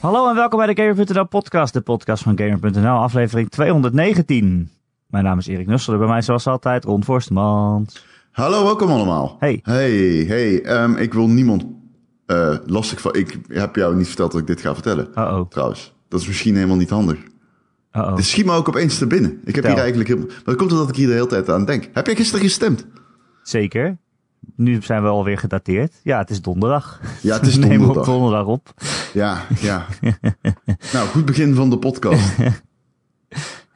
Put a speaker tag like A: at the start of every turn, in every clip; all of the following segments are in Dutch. A: Hallo en welkom bij de Gamer.nl podcast, de podcast van Gamer.nl, aflevering 219. Mijn naam is Erik Nussel en bij mij zoals altijd Ron Forstemans.
B: Hallo, welkom allemaal.
A: Hey.
B: Hey, hey. ehm, ik wil niemand eh, lastig van. Ik heb jou niet verteld dat ik dit ga vertellen.
A: Uh-oh,
B: Trouwens, dat is misschien helemaal niet handig.
A: Oh. uh-oh.
B: Dit schiet me ook opeens te binnen. Ik heb hier eigenlijk helemaal. Maar dat komt omdat ik hier de hele tijd aan denk. Heb jij gisteren gestemd?
A: Zeker. Nu zijn we alweer gedateerd. Ja, het is donderdag.
B: Ja, het is
A: We nemen op
B: donderdag.
A: donderdag op.
B: Ja, ja. nou, goed begin van de
A: Ik
B: podcast. ja,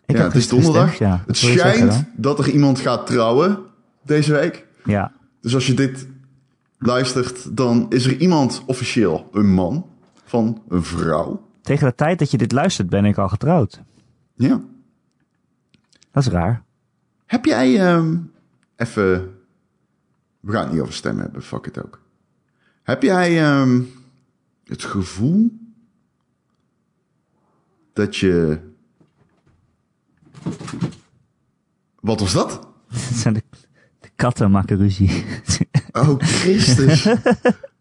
A: heb
B: het is
A: gisteren
B: donderdag.
A: gestemd, ja.
B: Het
A: Wat wil je zeggen
B: schijnt dat er iemand gaat trouwen deze week.
A: dan? Ja,
B: Dus als je dit luistert, dan is er iemand officieel een man van een vrouw.
A: tegen de tijd dat je dit luistert ben ik al getrouwd.
B: Ja.
A: Dat is raar.
B: Heb jij ehm, even. We gaan het niet over stemmen hebben, fuck it ook. Heb jij ehm, het gevoel dat je. Wat was dat?
A: Het zijn de, de katten maken ruzie.
B: Oh, Christus.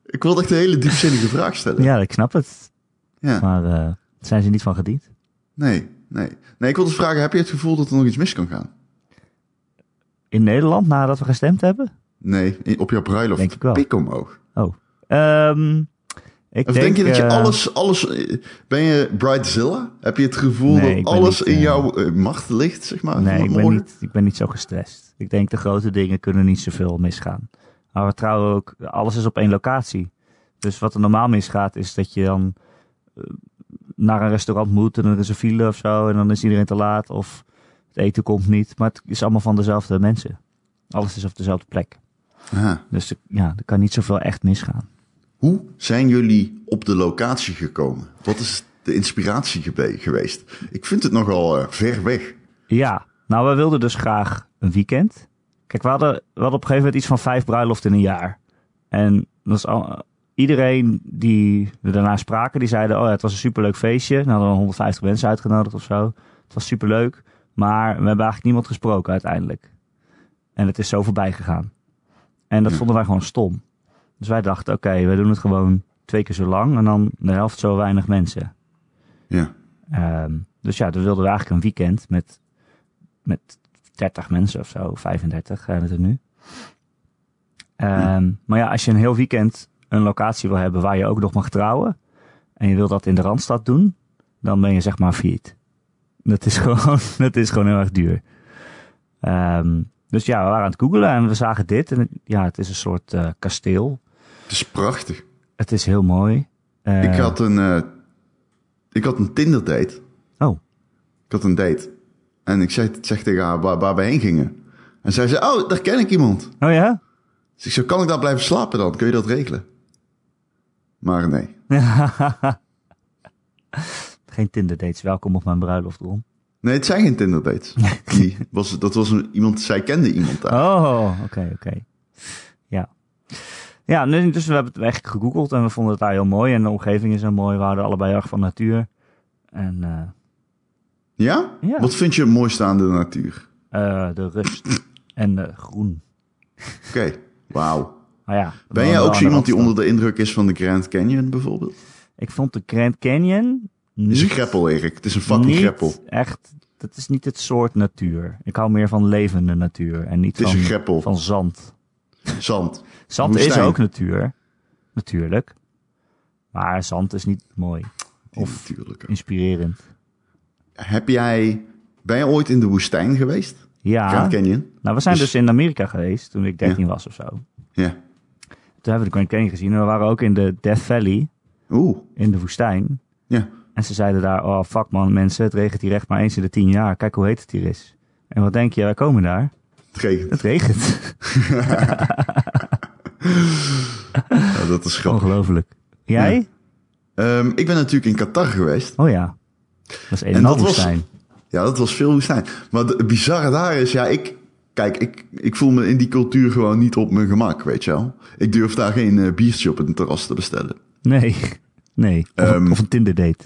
B: Ik wilde echt een hele diepzinnige vraag stellen.
A: ja, ik snap het.
B: Ja.
A: Maar eh, zijn ze niet van gediend?
B: Nee, nee. Nee, ik wilde vragen, heb je het gevoel dat er nog iets mis kan gaan?
A: In Nederland nadat we gestemd hebben?
B: Nee, in- op jouw bruiloft.
A: Denk ik wel.
B: Pik omhoog.
A: Oh. Ehm, ik
B: Of denk, je dat je
A: eh,
B: alles, alles... eh, Ben je Bridezilla? Heb je het gevoel
A: Nee, ik ben
B: dat alles
A: niet,
B: in
A: eh,
B: jouw eh, macht ligt, zeg maar?
A: Nee, ik ben,
B: vanmorgen?
A: niet, ik ben niet zo gestrest. Ik denk de grote dingen kunnen niet zoveel misgaan. Maar we trouwen ook, alles is op één locatie. Dus wat er normaal misgaat is dat je dan eh, naar een restaurant moet en er is een file of zo en dan is iedereen te laat of het eten komt niet. Maar het is allemaal van dezelfde mensen. Alles is op dezelfde plek.
B: Aha.
A: Dus eh, ja, er kan niet zoveel echt misgaan.
B: Hoe zijn jullie op de locatie gekomen? Wat is de inspiratie gebe- geweest? Ik vind het nogal eh, ver weg.
A: Ja, nou, we wilden dus graag een weekend. Kijk, we hadden, we hadden op een gegeven moment iets van vijf bruiloften in een jaar. En dat is al, iedereen die we daarna spraken, die zeiden: Oh ja, het was een superleuk feestje. Nou, hadden we 150 mensen uitgenodigd of zo. Het was superleuk. Maar we hebben eigenlijk niemand gesproken uiteindelijk. En het is zo voorbij gegaan. En dat
B: Ja.
A: vonden wij gewoon stom. Dus wij dachten: Oké, we doen het gewoon twee keer zo lang en dan de helft zo weinig mensen.
B: Ja.
A: Ehm, dus ja, dan wilden we eigenlijk een weekend met, met 30 mensen of zo, 35 zijn het er nu. Ehm, Maar ja, als je een heel weekend een locatie wil hebben waar je ook nog mag trouwen en je wil dat in de Randstad doen, dan ben je zeg maar failliet. Dat is gewoon, dat is gewoon heel erg duur. Ehm, dus ja, we waren aan het googelen en we zagen dit. En het- ja, het is een soort eh, kasteel.
B: Het is prachtig.
A: Het is heel mooi. Eh,
B: Ik had een... eh, ik had een Tinder date.
A: Oh,
B: Ik had een date. En ik zei, zeg tegen haar waar, waar we heen gingen. En zij zei, oh, daar ken ik iemand.
A: oh ja?
B: Dus ik zei, kan ik daar blijven slapen dan? Kun je dat regelen? Maar nee.
A: Geen Tinder dates. Welkom op mijn bruiloft, Ron.
B: Nee, het zijn geen Tinder dates. Die was, dat was een, iemand, zij kende iemand daar.
A: Oh, oké, oké. Ja. Ja, nu- dus we hebben het eigenlijk gegoogeld en we vonden het daar heel mooi. En de omgeving is heel mooi. We houden allebei erg van natuur. En
B: Ja?
A: Ja.
B: Wat vind je het mooiste aan de natuur?
A: eh, eh, de rust en de groen.
B: Oké, wauw.
A: Maar ja,
B: Ben jij ook zo iemand die onder de indruk is van de Grand Canyon bijvoorbeeld?
A: Ik vond de Grand Canyon
B: Het is een
A: niet,
B: greppel, Erik. Het is een fucking
A: niet
B: greppel. Het
A: echt... Dat is niet het soort natuur. Ik hou meer van levende natuur en niet
B: is een
A: van,
B: greppel.
A: van zand.
B: Zand.
A: Zand is
B: Woestijn.
A: ook natuur. Natuurlijk. Maar zand is niet mooi. Of
B: Natuurlijk.
A: inspirerend.
B: Heb jij... Ben je ooit in de woestijn geweest?
A: Ja.
B: Grand Canyon?
A: Nou, we zijn
B: Dus-
A: dus in Amerika geweest toen ik 13 was of zo. Toen
B: Ja.
A: hebben we de Grand Canyon gezien. En we waren ook in de Death Valley,
B: Oeh.
A: in de woestijn.
B: Ja.
A: En ze zeiden daar, oh fuck man, mensen, het regent hier echt maar eens in de 10 jaar. Kijk hoe heet het hier is. En wat denk je, wij komen daar.
B: Het regent.
A: Het regent.
B: Ja, Nou, dat is
A: Oh.
B: grappig.
A: Ongelooflijk. Jij?
B: Ehm, ik ben natuurlijk in Qatar geweest.
A: Oh ja. Dat is een
B: En
A: en al
B: dat was-
A: woestijn.
B: Ja, dat was veel woestijn. Maar het bizarre daar is, ja, ik... Kijk, ik, ik voel me in die cultuur gewoon niet op mijn gemak, weet je wel. Ik durf daar geen eh, biertje op een terras te bestellen.
A: Nee. Nee. Of,
B: Ehm.
A: of een Tinder date.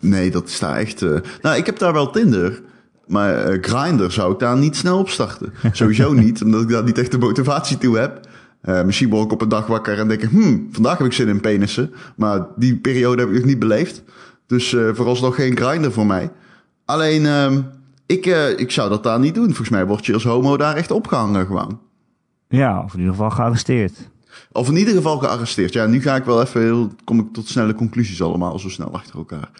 B: Nee, dat is daar echt... eh, Nou, ik heb daar wel Tinder, maar eh Grindr zou ik daar niet snel op starten. Sowieso niet, omdat ik daar niet echt de motivatie toe heb. Eh, misschien word ik op een dag wakker en denk ik, hmm, vandaag heb ik zin in penissen. Maar die periode heb ik nog niet beleefd. Dus eh, vooralsnog geen grinder voor mij. Alleen, ehm, ik, eh, ik zou dat daar niet doen. Volgens mij word je als homo daar echt opgehangen gewoon.
A: Ja, of in ieder geval gearresteerd.
B: Of in ieder geval gearresteerd. Ja, nu ga ik wel even heel, kom ik tot snelle conclusies allemaal, zo snel achter elkaar.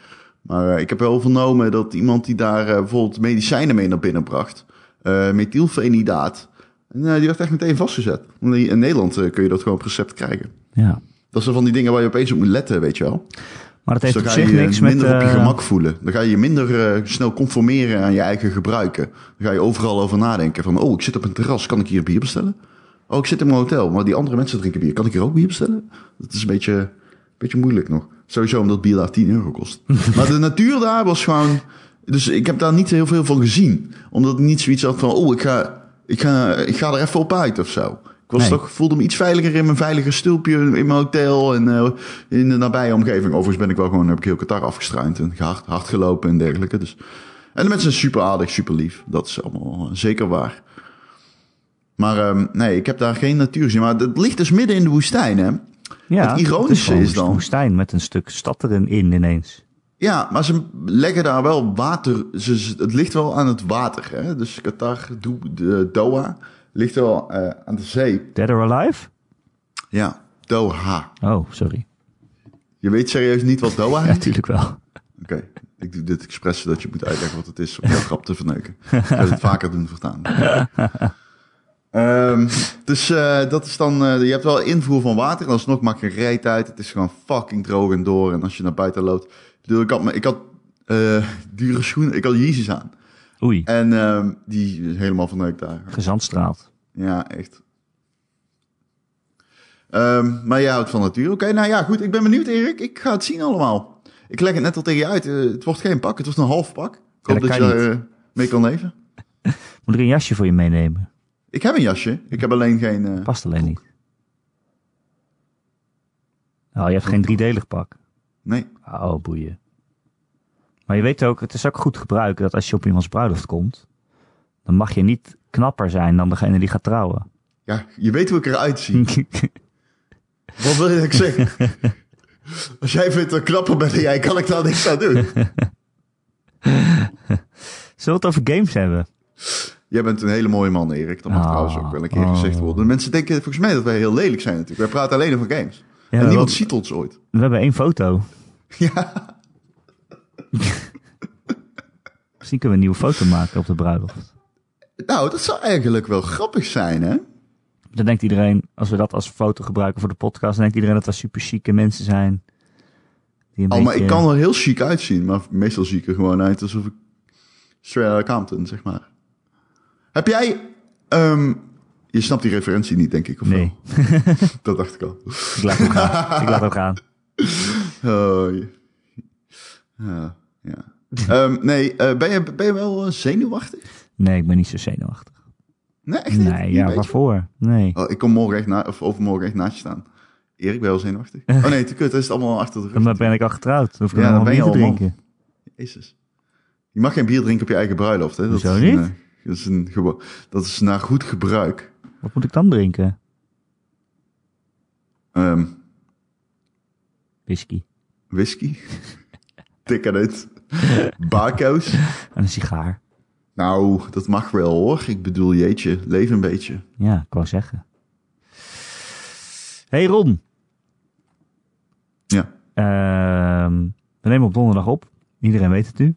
B: Maar eh, ik heb wel vernomen dat iemand die daar eh, bijvoorbeeld medicijnen mee naar binnen bracht, eh methylfenidaat, nou, die werd echt meteen vastgezet. In Nederland eh, kun je dat gewoon op recept krijgen.
A: Ja.
B: Dat zijn van die dingen waar je opeens op moet letten, weet je wel.
A: Maar dat heeft
B: dus dan
A: op
B: ga je
A: zich niks
B: je
A: met...
B: minder op je
A: eh,
B: gemak voelen. Dan ga je je minder eh, snel conformeren aan je eigen gebruiken. Dan ga je overal over nadenken van, oh, ik zit op een terras, kan ik hier bier bestellen? Oh, ik zit in mijn hotel, maar die andere mensen drinken bier. Kan ik hier ook bier bestellen? Dat is een beetje, een beetje moeilijk nog. Sowieso omdat bier daar 10 euro kost. maar de natuur daar was gewoon... Dus ik heb daar niet heel veel van gezien. Omdat ik niet zoiets had van, oh, ik ga, ik ga, ik ga er even op uit of zo. Ik was
A: Nee.
B: toch, voelde me iets veiliger in mijn veilige stulpje in mijn hotel en eh, in de nabije omgeving. Overigens ben ik wel gewoon, heb ik heel Qatar afgestruind en hard, hard gelopen en dergelijke. Dus. En de mensen zijn super aardig, super lief. Dat is allemaal eh, zeker waar. Maar ehm, nee, ik heb daar geen natuur gezien. Maar het ligt dus midden in de woestijn, hè?
A: ja,
B: het ironische
A: gewoon
B: is dan-
A: Een woestijn met een stuk stad erin in ineens.
B: Ja, maar ze leggen daar wel water. Ze, ze- het ligt wel aan het water. Hè? Dus Qatar, Do- de- Doha, ligt wel eh, aan de zee.
A: Dead or Alive?
B: Ja, Doha.
A: Oh, sorry.
B: Je weet serieus niet wat Doha
A: Ja,
B: is?
A: natuurlijk wel.
B: Oké, ik doe dit expres zodat je moet uitleggen wat het is om jouw grap te verneuken. Ik ga het vaker doen voortaan. Ehm, dus eh, dat is dan, eh, je hebt wel invoer van water en alsnog maak je reet uit. Het is gewoon fucking droog en door. En als je naar buiten loopt, ik bedoel, ik had, me- ik had eh, dure schoenen, ik had Yeezys aan.
A: Oei,
B: En ehm, die is helemaal verneukt daar.
A: gezandstraald.
B: Ja, echt. Ehm, maar jij houdt van natuur. Oké, nou ja, goed. Ik ben benieuwd, Erik. Ik ga het zien allemaal. Ik leg het net al tegen je uit. Eh, het wordt geen pak. Het wordt een half pak. Ik hoop
A: dat
B: dat,
A: kan
B: je daar eh, mee kan leven.
A: Moet ik een jasje voor je meenemen?
B: Ik heb een jasje. Ik heb alleen geen... eh,
A: Past alleen niet. Oh, je hebt geen driedelig pak.
B: nee.
A: Oh, boeien. Maar je weet ook, het is ook goed gebruiken dat als je op iemands bruiloft komt, dan mag je niet knapper zijn dan degene die gaat trouwen.
B: Ja, je weet hoe ik eruit zie. Wat wil je dat ik zeg? Als jij vindt dat ik knapper ben dan jij, kan ik daar niks aan doen.
A: Zullen we het over games hebben?
B: Jij bent een hele mooie man, Erik. Dat mag
A: Ah,
B: trouwens ook wel een keer
A: oh.
B: gezegd worden. Mensen denken volgens mij dat wij heel lelijk zijn natuurlijk. Wij praten alleen over games.
A: Ja,
B: en niemand
A: wel-
B: ziet ons ooit.
A: We hebben één foto.
B: Ja.
A: Misschien kunnen we een nieuwe foto maken op de bruiloft.
B: Nou, dat zou eigenlijk wel grappig zijn, hè? Oh,
A: Dan denkt iedereen, als we dat als foto gebruiken voor de podcast, dan denkt iedereen dat we super chique mensen zijn. Die een
B: Oh, maar
A: beetje-
B: ik kan er heel chic uitzien, maar meestal zie ik er gewoon uit alsof ik straight out Compton, zeg maar. Heb jij... ehm, je snapt die referentie niet, denk ik, of
A: Nee,
B: wel? Dat dacht ik al.
A: ik laat ook gaan. Ik laat ook gaan.
B: Oh, je- ja. ja. Ehm, nee, eh, ben, je, ben je wel eh, zenuwachtig?
A: Nee, ik ben niet zo zenuwachtig.
B: Nee, echt niet?
A: Nee,
B: Niet,
A: ja,
B: weet je?
A: waarvoor? Nee.
B: Oh, ik kom morgen echt na, of overmorgen echt naast je staan. Erik, ben je wel zenuwachtig? Oh nee, te kut, dat is het allemaal achter de rug.
A: Dan ben ik al getrouwd. Dan hoef ik
B: Ja,
A: ja,
B: dan
A: allemaal
B: ben je
A: bier te
B: al man.
A: drinken.
B: Jezus. Je mag geen bier drinken op je eigen bruiloft, hè? Dat
A: Hoezo
B: is een,
A: niet?
B: eh, dat, is een gewo- dat is naar goed gebruik.
A: Wat moet ik dan drinken?
B: Ehm,
A: Whisky.
B: whisky. Ticket. Barco's.
A: En een sigaar.
B: Nou, dat mag wel hoor. Ik bedoel, jeetje, leef een beetje.
A: Ja, ik wou zeggen. Hey Ron.
B: Ja.
A: Ehm, we nemen op donderdag op. Iedereen weet het nu.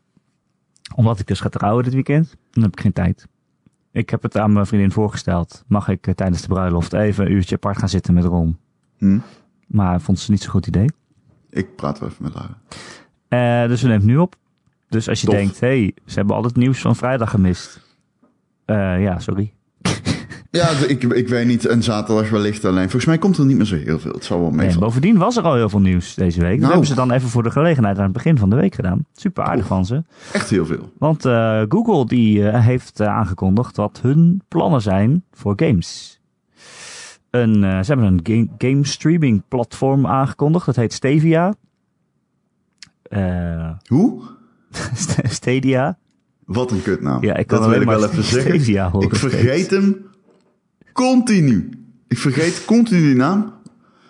A: Omdat ik dus ga trouwen dit weekend. Dan heb ik geen tijd. Ik heb het aan mijn vriendin voorgesteld. Mag ik eh, tijdens de bruiloft even een uurtje apart gaan zitten met Ron?
B: Hm?
A: Maar vond ze niet zo'n goed idee.
B: Ik praat wel even met Lara.
A: Eh, dus we nemen het nu op. Dus als je
B: Tof.
A: denkt, hé, hey, ze hebben al het nieuws van vrijdag gemist. Eh, ja, sorry.
B: Ja, d- ik, ik weet niet. En zaterdag wellicht alleen. Volgens mij komt er niet meer zo heel veel. Het zal wel
A: Nee,
B: meevallen.
A: bovendien was er al heel veel nieuws deze week.
B: Nou.
A: Dat hebben ze dan even voor de gelegenheid aan het begin van de week gedaan. Super aardig van ze.
B: Echt heel veel.
A: Want eh, Google die, eh, heeft eh, aangekondigd wat hun plannen zijn voor games. Een, eh, ze hebben een game, game streaming platform aangekondigd. Dat heet Stevia. Eh,
B: Hoe?
A: Stadia.
B: Wat een kutnaam.
A: Ja, ik kan
B: dat wil
A: alleen
B: ik
A: maar
B: wel even
A: Stadia
B: zeggen.
A: horen
B: Ik
A: steeds.
B: vergeet hem continu. Ik vergeet continu die naam.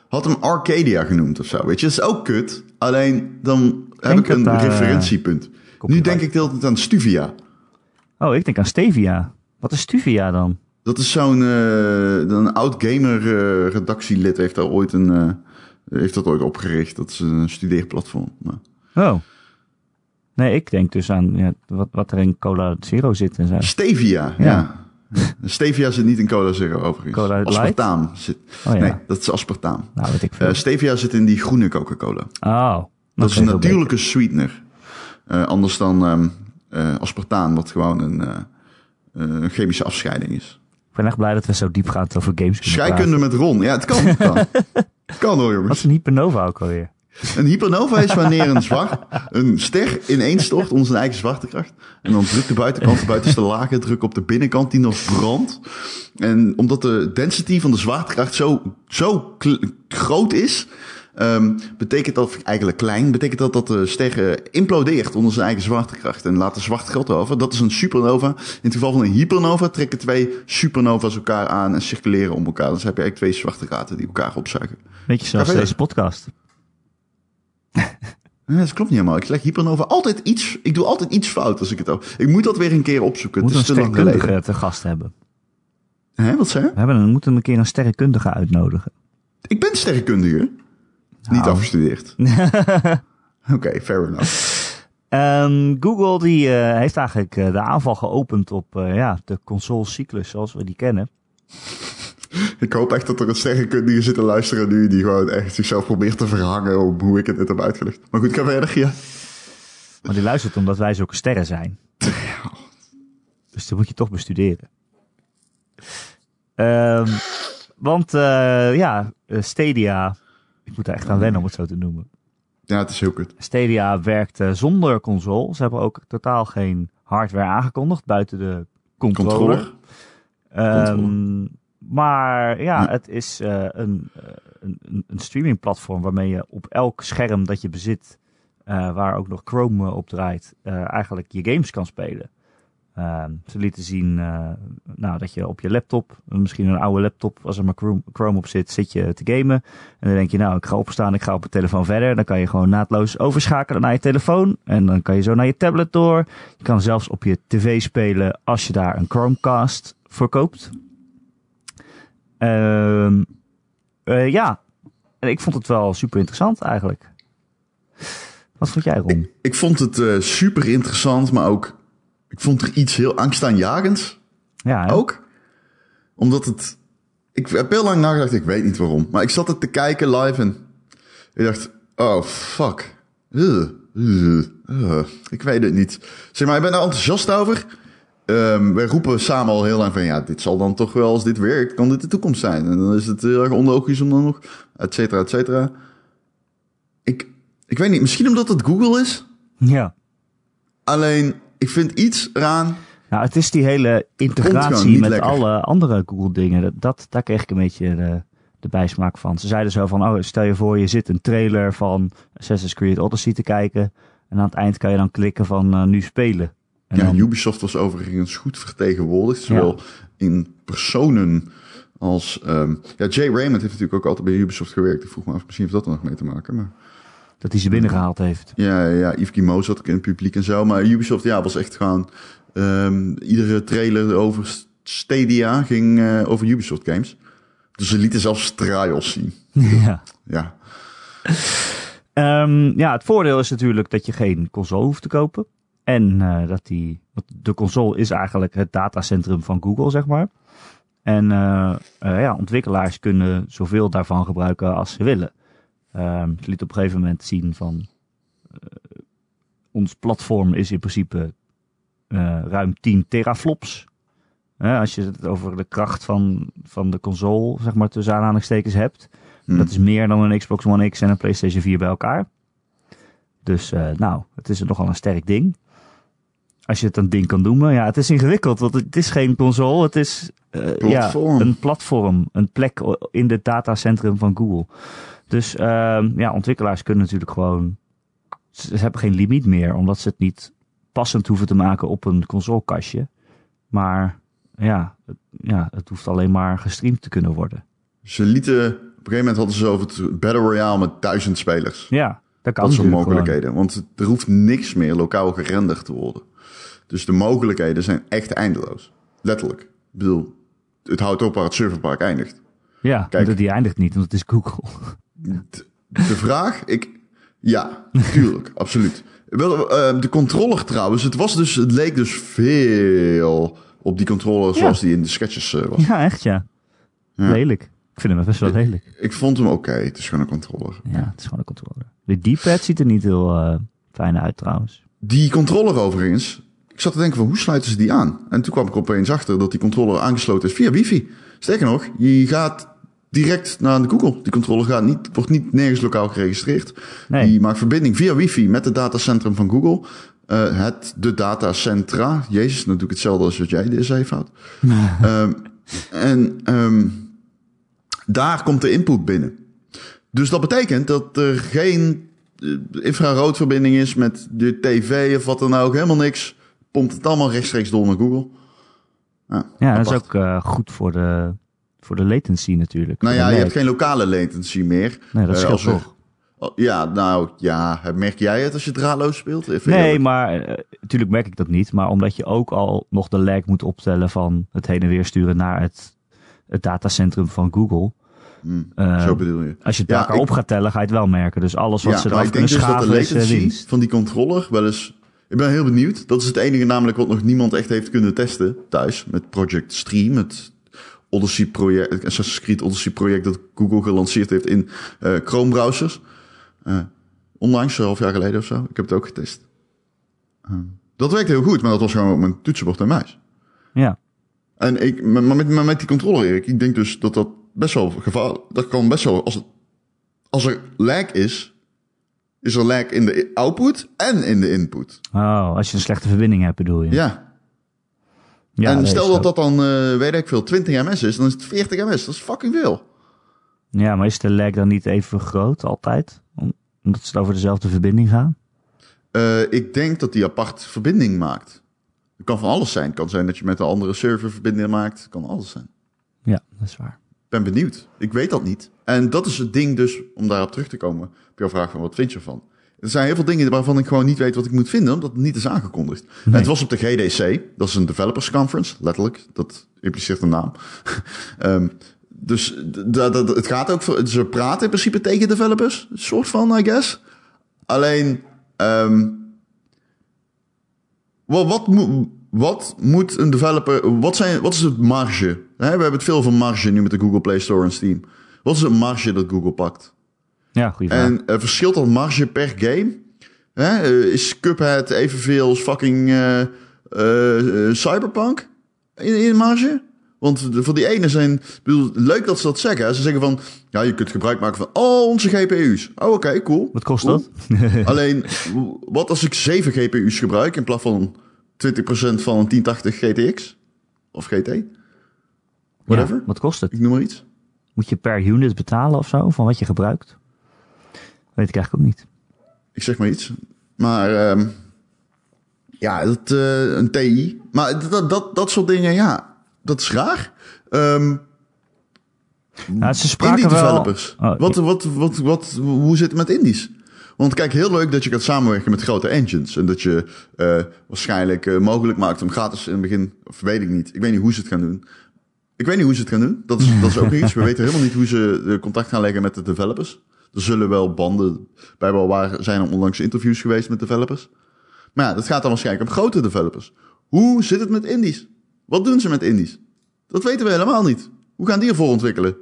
B: Had hem Arcadia genoemd of zo. Weet je, dat is ook kut. Alleen dan heb
A: denk
B: ik
A: dat
B: een
A: daar, eh,
B: referentiepunt. Nu
A: copyright.
B: denk ik de hele tijd aan Stuvia.
A: Oh, ik denk aan Stevia. Wat is Stevia dan?
B: Dat is zo'n eh, een oud gamer eh, redactielid heeft daar ooit een eh, heeft dat ooit opgericht. Dat is een studeerplatform. Maar
A: Oh. Nee, ik denk dus aan ja, wat, wat er in Cola Zero zit en zo.
B: Stevia, ja.
A: Ja.
B: Stevia zit niet in cola zero overigens.
A: Cola Light?
B: aspartaam zit.
A: Oh ja,
B: Nee, dat is aspartaam.
A: nou weet ik veel.
B: Eh, stevia zit in die groene Coca-Cola.
A: oh.
B: Dat is een
A: oké, heel beter.
B: natuurlijke sweetener. Eh, anders dan ehm, eh, aspartaam, wat gewoon een eh, eh, een chemische afscheiding is.
A: Ik ben echt blij dat we zo diep gaan over games kunnen praten.
B: Scheikunde met Ron. Ja, het kan. Het kan, het kan
A: Wat
B: hoor,
A: is
B: jongens.
A: een hypernova ook alweer?
B: Een hypernova is wanneer een, zwart, een ster ineenstort onder zijn eigen zwaartekracht. En dan drukt de buitenkant, de buitenste lagen drukken op de binnenkant die nog brandt. En omdat de density van de zwaartekracht zo, zo kl- groot is, ehm, betekent dat, of eigenlijk klein, betekent dat dat de ster eh, implodeert onder zijn eigen zwaartekracht. En laat de zwart gat over. Dat is een supernova. In het geval van een hypernova trekken twee supernova's elkaar aan en circuleren om elkaar. Dus heb je eigenlijk twee zwarte gaten die elkaar opzuigen.
A: Weet je, zoals
B: Ja, weet
A: deze podcast.
B: Nee, dat klopt niet helemaal. Ik leg hypernova altijd iets. Ik doe altijd iets fout als ik het over. Ik moet dat weer een keer opzoeken.
A: Moet
B: het
A: een
B: is te lang geleden.
A: sterrenkundige te gast hebben.
B: Hè, wat zei je?
A: We, hebben een, moeten een keer een sterrenkundige uitnodigen.
B: Ik ben sterrenkundige. Niet
A: Nou.
B: afgestudeerd. Oké, fair enough.
A: Ehm, Google die, eh, heeft eigenlijk eh, de aanval geopend op eh, ja, de consolecyclus zoals we die kennen.
B: Ik hoop echt dat er een sterrenkundige zit te luisteren nu. Die gewoon echt zichzelf probeert te verhangen om hoe ik het net heb uitgelegd. Maar goed, ik ga verder. Ja.
A: Maar die luistert omdat wij zulke sterren zijn. Dus die moet je toch bestuderen. Ehm, want eh, ja, eh, Stadia, ik moet daar echt aan wennen om het zo te noemen.
B: ja, het is heel kut.
A: Stadia werkt eh, zonder console. Ze hebben ook totaal geen hardware aangekondigd buiten de controller.
B: Controller.
A: Ehm,
B: Controller.
A: maar ja,
B: Ja.
A: het is eh, een, eh, een, een- een streamingplatform waarmee je op elk scherm dat je bezit, eh, waar ook nog Chrome eh, op draait, eh, eigenlijk je games kan spelen. Ehm, ze lieten zien eh, nou, dat je op je laptop, misschien een oude laptop, als er maar Chrome, Chrome op zit, zit je te gamen. En dan denk je, nou, ik ga opstaan, ik ga op mijn telefoon verder. Dan kan je gewoon naadloos overschakelen naar je telefoon. En dan kan je zo naar je tablet door. Je kan zelfs op je tv spelen als je daar een Chromecast voor koopt. Ehm, eh, ja, en ik vond het wel super interessant eigenlijk. Wat vond jij, Ron?
B: Ik vond het eh, super interessant, maar ook. Ik vond er iets heel angstaanjagends.
A: Ja, hè?
B: Ook omdat het. Ik heb heel lang nagedacht, ik weet niet waarom. Maar ik zat het te kijken live en. Ik dacht, oh fuck. Ugh, ugh, ugh. Ik weet het niet. Zeg maar, ik ben daar enthousiast over. Ehm, wij roepen samen al heel lang van ja, dit zal dan toch wel, als dit werkt, kan dit de toekomst zijn. En dan is het heel erg onlogisch om dan nog, et cetera, et cetera. Ik, ik weet niet, misschien omdat het Google is.
A: ja.
B: Alleen, ik vind iets eraan
A: Nou, het is die hele
B: Komt gewoon
A: integratie
B: niet
A: met
B: lekker.
A: alle andere Google-dingen. Dat, dat, daar kreeg ik een beetje de, de bijsmaak van. Ze zeiden zo van, oh, stel je voor, je zit een trailer van Assassin's Creed Odyssey te kijken. En aan het eind kan je dan klikken van eh, nu spelen. En
B: Ja,
A: dan-
B: Ubisoft was overigens goed vertegenwoordigd, zowel in personen als... ehm, ja, Jay Raymond heeft natuurlijk ook altijd bij Ubisoft gewerkt. Ik vroeg me af, misschien heeft dat er nog mee te maken. Maar,
A: dat hij ze binnengehaald heeft.
B: ja, ja, ja, Yves Guillemot zat ook in het publiek en zo. Maar Ubisoft ja, was echt gewoon... ehm, iedere trailer over Stadia ging eh, over Ubisoft games. Dus ze lieten zelfs trials zien.
A: ja.
B: Ja,
A: Ehm, ja, het voordeel is natuurlijk dat je geen console hoeft te kopen. En eh, dat die. Want de console is eigenlijk het datacentrum van Google, zeg maar. En eh, eh, ja, ontwikkelaars kunnen zoveel daarvan gebruiken als ze willen. Ehm ze liet op een gegeven moment zien van. eh, ons platform is in principe eh, ruim 10 teraflops. Eh, als je het over de kracht van, van de console, zeg maar, tussen aanhalingstekens hebt.
B: Hm.
A: Dat is meer dan een Xbox One X en een PlayStation 4 bij elkaar. Dus eh, nou, het is nogal een sterk ding. Als je het een ding kan noemen. Ja, het is ingewikkeld, want het is geen console. Het is eh, ja,
B: Platform.
A: een platform, een plek o- in het datacentrum van Google. Dus ehm, ja, ontwikkelaars kunnen natuurlijk gewoon... Ze ze hebben geen limiet meer, omdat ze het niet passend hoeven te maken op een consolekastje. Maar ja, het, ja, het hoeft alleen maar gestreamd te kunnen worden.
B: Ze lieten... Op een gegeven moment hadden ze over het Battle Royale met duizend spelers.
A: Ja, dat kan
B: Dat soort
A: natuurlijk gewoon.
B: mogelijkheden. Want er hoeft niks meer lokaal gerenderd te worden. Dus de mogelijkheden zijn echt eindeloos. Letterlijk. Ik bedoel, het houdt op waar het serverpark eindigt.
A: Ja,
B: Kijk.
A: want die eindigt niet, want het is Google.
B: De vraag, ik... Ja, tuurlijk, absoluut. Wel, eh, de controller trouwens, het, was dus, het leek dus veel op die controller
A: Ja.
B: zoals die in de sketches eh, was.
A: Ja, echt ja. Lelijk. Ik vind hem best wel lelijk.
B: Ik vond hem oké, het is gewoon een controller.
A: Ja, het is gewoon een controller. De D-pad ziet er niet heel eh, fijn uit trouwens.
B: Die controller overigens, ik zat te denken van hoe sluiten ze die aan? En toen kwam ik opeens achter dat die controller aangesloten is via wifi. Sterker nog, je gaat direct naar de Google. Die controller gaat niet, wordt niet nergens lokaal geregistreerd.
A: Nee.
B: Die maakt verbinding via wifi met het datacentrum van Google. Eh, het, de datacentra. Jezus, dan doe ik hetzelfde als wat jij zei fout. Ehm, en ehm, daar komt de input binnen. Dus dat betekent dat er geen eh, infraroodverbinding is met de tv of wat dan ook. Helemaal niks. Pompt het allemaal rechtstreeks door naar Google.
A: Ja, dat is
B: Apart.
A: ook eh, goed voor de, voor de latency natuurlijk.
B: Nou
A: Voor
B: ja,
A: de
B: je hebt
A: lag.
B: geen lokale latency meer.
A: Nee, dat
B: Eh,
A: scheelt
B: als er-
A: toch.
B: Oh, Ja, nou ja, merk jij het als je draadloos speelt? Even
A: Nee,
B: eerlijk.
A: maar natuurlijk merk ik dat niet. Maar omdat je ook al nog de lag moet optellen van het heen en weer sturen naar het, het datacentrum van Google. Eh,
B: Zo bedoel je.
A: als je het bij
B: Ja,
A: elkaar
B: ik-
A: op gaat tellen, ga je het wel merken. Dus alles wat ze
B: maar dus
A: eraf kunnen schaven
B: de
A: is eh,
B: latency
A: winst.
B: van die controller wel eens... Ik ben heel benieuwd. Dat is het enige namelijk wat nog niemand echt heeft kunnen testen thuis. Met Project Stream, het Odyssey project, het Assassin's Creed Odyssey project dat Google gelanceerd heeft in eh, Chrome browsers. Eh, onlangs, een half jaar geleden of zo. Ik heb het ook getest. Eh, dat werkt heel goed, maar dat was gewoon op mijn toetsenbord en muis.
A: Ja.
B: En ik, maar maar met, maar met die controller, Erik, ik denk dus dat dat best wel gevaar, dat kan best wel, als, het, als er lag is, is er lag in de i- output en in de input.
A: Oh, als je een slechte verbinding hebt bedoel je.
B: Ja.
A: Ja,
B: en
A: nee,
B: stel
A: is
B: dat
A: ook-
B: dat dan, eh, weet ik veel, 20 ms is, dan is het 40 ms. Dat is fucking veel.
A: Ja, maar is de lag dan niet even groot altijd? Om- Omdat ze over dezelfde verbinding gaan?
B: Eh, ik denk dat die apart verbinding maakt. Het kan van alles zijn. Het kan zijn dat je met een andere server verbinding maakt. Het kan alles zijn.
A: Ja, dat is waar.
B: ben benieuwd. Ik weet dat niet. En dat is het ding dus, om daarop terug te komen, op jouw vraag van wat vind je ervan? Er zijn heel veel dingen waarvan ik gewoon niet weet wat ik moet vinden, omdat het niet is aangekondigd. En het was op de GDC, dat is een developers conference, letterlijk. Dat impliceert een naam. Ehm, dus d- dat- dat- het gaat ook, voor- ze praten in principe tegen developers, een soort van, I guess. Alleen, ehm, wat, wat, moet- wat moet een developer. Wat, zijn, wat is het marge? Hè, we hebben het veel van marge nu met de Google Play Store en Steam. Wat is het marge dat Google pakt?
A: Ja, goede vraag.
B: En eh, verschilt dat marge per game? Hè, eh, is Cuphead evenveel als fucking eh, eh, eh, Cyberpunk in, in marge? Want de- voor die ene zijn... ik Bedoel, leuk dat ze dat zeggen. hè. Ze zeggen van... Ja, je kunt gebruik maken van al onze GPU's. Oh, oké, cool.
A: Wat kost
B: Cool.
A: dat?
B: Alleen, wat als ik 7 GPU's gebruik in plaats van 20% van een 1080 GTX? Of GT? Whatever.
A: Ja, wat kost het?
B: Ik noem maar iets.
A: Moet je per unit betalen of zo van wat je gebruikt? Weet ik eigenlijk ook niet.
B: Mm, Ik zeg maar iets. Maar ehm, ja, dat, eh, een TI. Maar dat- dat, dat, dat soort dingen, ja, dat is raar. Ehm
A: Nou, ze
B: indie
A: spraken wel...
B: developers.
A: Oh,
B: wat, wat, wat, wat, hoe zit het met indies? Want kijk, heel leuk dat je gaat samenwerken met grote engines. En dat je eh, waarschijnlijk eh, mogelijk maakt om gratis in het begin... Of weet ik niet. Ik weet niet hoe ze het gaan doen. Ik weet niet hoe ze het gaan doen. Dat is, dat is ook iets. We weten helemaal niet hoe ze eh, contact gaan leggen met de developers. Er zullen wel banden... Bij wel waar zijn er onlangs interviews geweest met developers. Maar ja, dat gaat dan waarschijnlijk om grote developers. Hoe zit het met indies? Wat doen ze met indies? Dat weten we helemaal niet. Hoe gaan die ervoor ontwikkelen?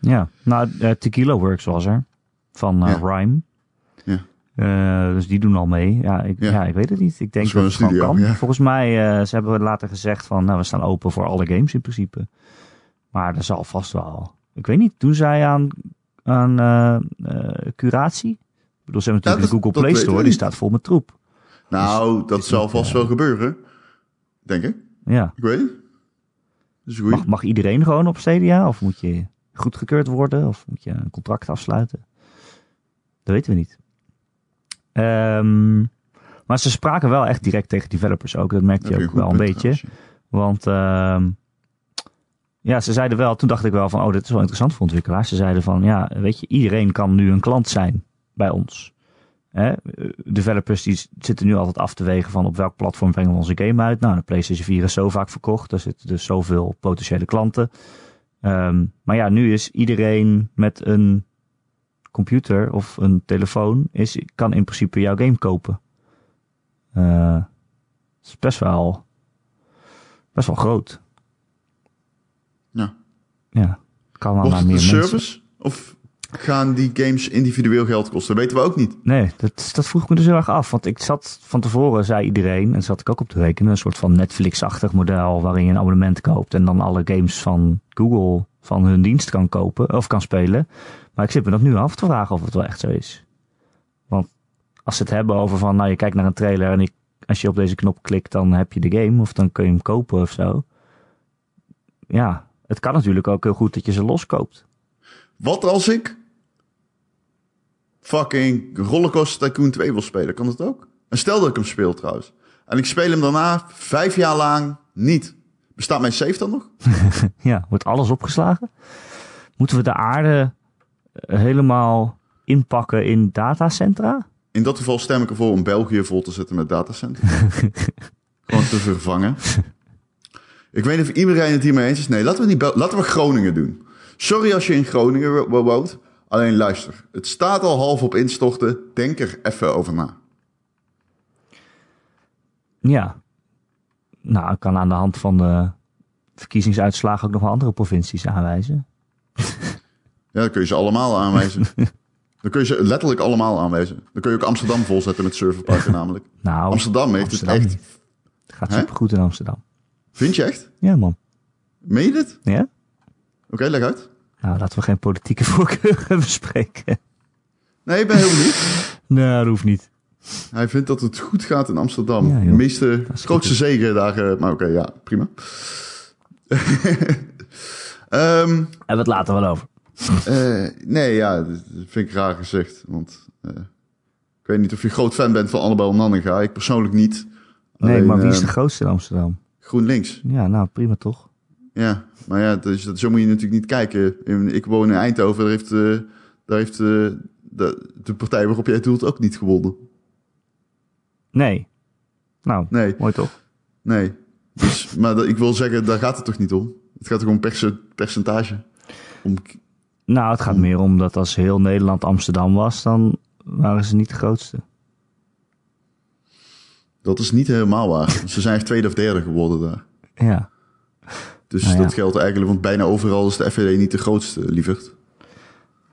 A: Ja, nou, eh, Tequila Works was er. Van eh,
B: Ja.
A: Rhyme.
B: Ja.
A: Eh, dus die doen al mee. Ja ik, ja.
B: Ja.
A: ik weet het niet. Ik denk
B: is
A: dat
B: gewoon
A: het
B: een
A: gewoon kan.
B: studio, ja.
A: Volgens mij, eh, ze hebben later gezegd van, nou, we staan open voor alle games in principe. Maar er zal vast wel... Ik weet niet, doen zij aan, aan eh, eh, curatie? Ik bedoel, ze hebben natuurlijk
B: Ja, dat-
A: de Google
B: dat
A: Play
B: weten
A: Store,
B: we
A: die
B: niet.
A: staat vol met troep.
B: Nou, dat
A: is
B: zal
A: niet, eh,
B: vast wel gebeuren. Denk ik.
A: Ja.
B: Ik weet het. Dat is goed.
A: Mag, mag iedereen gewoon op Stadia? Of moet je goedgekeurd worden? Of moet je een contract afsluiten? Dat weten we niet. Ehm, maar ze spraken wel echt direct tegen developers ook. Dat merkte je ook wel een beetje. Want ehm, Ja, ze zeiden wel, toen dacht ik wel van, oh, dit is wel interessant voor ontwikkelaars. Ze zeiden van, ja, weet je, iedereen kan nu een klant zijn bij ons. Hè? Eh, Developers die zitten nu altijd af te wegen van op welk platform brengen we onze game uit. Nou, de PlayStation 4 is zo vaak verkocht, daar zitten dus zoveel potentiële klanten. Ehm, maar ja, nu is iedereen met een computer of een telefoon, is, kan in principe jouw game kopen. Eh, Het is best wel, best wel groot.
B: Ja.
A: Ja, kan wel
B: Wordt
A: naar
B: het
A: meer
B: een
A: mensen.
B: service? Of gaan die games individueel geld kosten? Dat weten we ook niet.
A: Nee, dat, dat vroeg ik me dus heel erg af. Want ik zat van tevoren, zei iedereen, en zat ik ook op te rekenen, een soort van Netflix-achtig model waarin je een abonnement koopt en dan alle games van Google van hun dienst kan kopen of kan spelen. Maar ik zit me dat nu af te vragen of het wel echt zo is. Want als ze het hebben over van, nou je kijkt naar een trailer en ik, als je op deze knop klikt, dan heb je de game of dan kun je hem kopen of zo. Ja, het kan natuurlijk ook heel goed dat je ze loskoopt.
B: Wat als ik fucking Rollercoaster Tycoon 2 wil spelen? Kan dat ook? En stel dat ik hem speel trouwens. En ik speel hem daarna vijf jaar lang niet. Bestaat mijn save dan nog?
A: Ja, wordt alles opgeslagen? Moeten we de aarde eh, helemaal inpakken in datacentra?
B: In dat geval stem ik ervoor om België vol te zetten met datacenter. Gewoon te vervangen. Ik weet niet of iedereen het hiermee eens is. Nee, laten we, niet Bel- laten we Groningen doen. Sorry als je in Groningen wo- wo- woont. Alleen luister, het staat al half op instorten. Denk er even over na.
A: Ja. Nou, ik kan aan de hand van de verkiezingsuitslagen ook nog wel andere provincies aanwijzen.
B: Ja, dan kun je ze allemaal aanwijzen. dan kun je ze letterlijk allemaal aanwijzen. Dan kun je ook Amsterdam volzetten met serverparken namelijk.
A: Nou,
B: Amsterdam heeft
A: Amsterdam
B: het echt.
A: niet. het gaat
B: Hè?
A: supergoed in Amsterdam.
B: Vind je echt?
A: Ja, man.
B: Meen je dit? Oké,
A: Ja?
B: leg uit.
A: Nou, laten we geen politieke voorkeuren bespreken.
B: Nee, ik ben heel benieuwd.
A: Nee, dat hoeft niet.
B: Hij vindt dat het goed gaat in Amsterdam.
A: Ja, joh.
B: de meeste,
A: is
B: grootste zegen daar. eh, Maar oké, ja, prima. Ehm,
A: Hebben we het later wel over.
B: eh, nee, ja, dat vind ik raar gezegd. Want eh, ik weet niet of je groot fan bent van Annabel Nanninga. Ik persoonlijk niet.
A: Nee, eh,
B: Alleen,
A: maar wie is de
B: ehm,
A: grootste in Amsterdam?
B: GroenLinks.
A: Ja, nou, prima toch?
B: Ja, maar ja, dus, dat, zo moet je natuurlijk niet kijken. In- Ik woon in Eindhoven, daar heeft, eh, daar heeft eh, de, de partij waarop jij doelt ook niet gewonnen.
A: Nee. Nou,
B: Nee,
A: mooi toch?
B: nee. Dus, maar dat- ik wil zeggen, daar gaat het toch niet om? Het gaat toch om perce- percentage? Om,
A: Nou, het gaat meer om dat als heel Nederland Amsterdam was, dan waren ze niet de grootste.
B: dat is niet helemaal waar. Ze zijn echt tweede of derde geworden daar.
A: Ja.
B: Dus
A: Nou ja.
B: dat geldt eigenlijk, want bijna overal is de FVD niet de grootste, lieverd.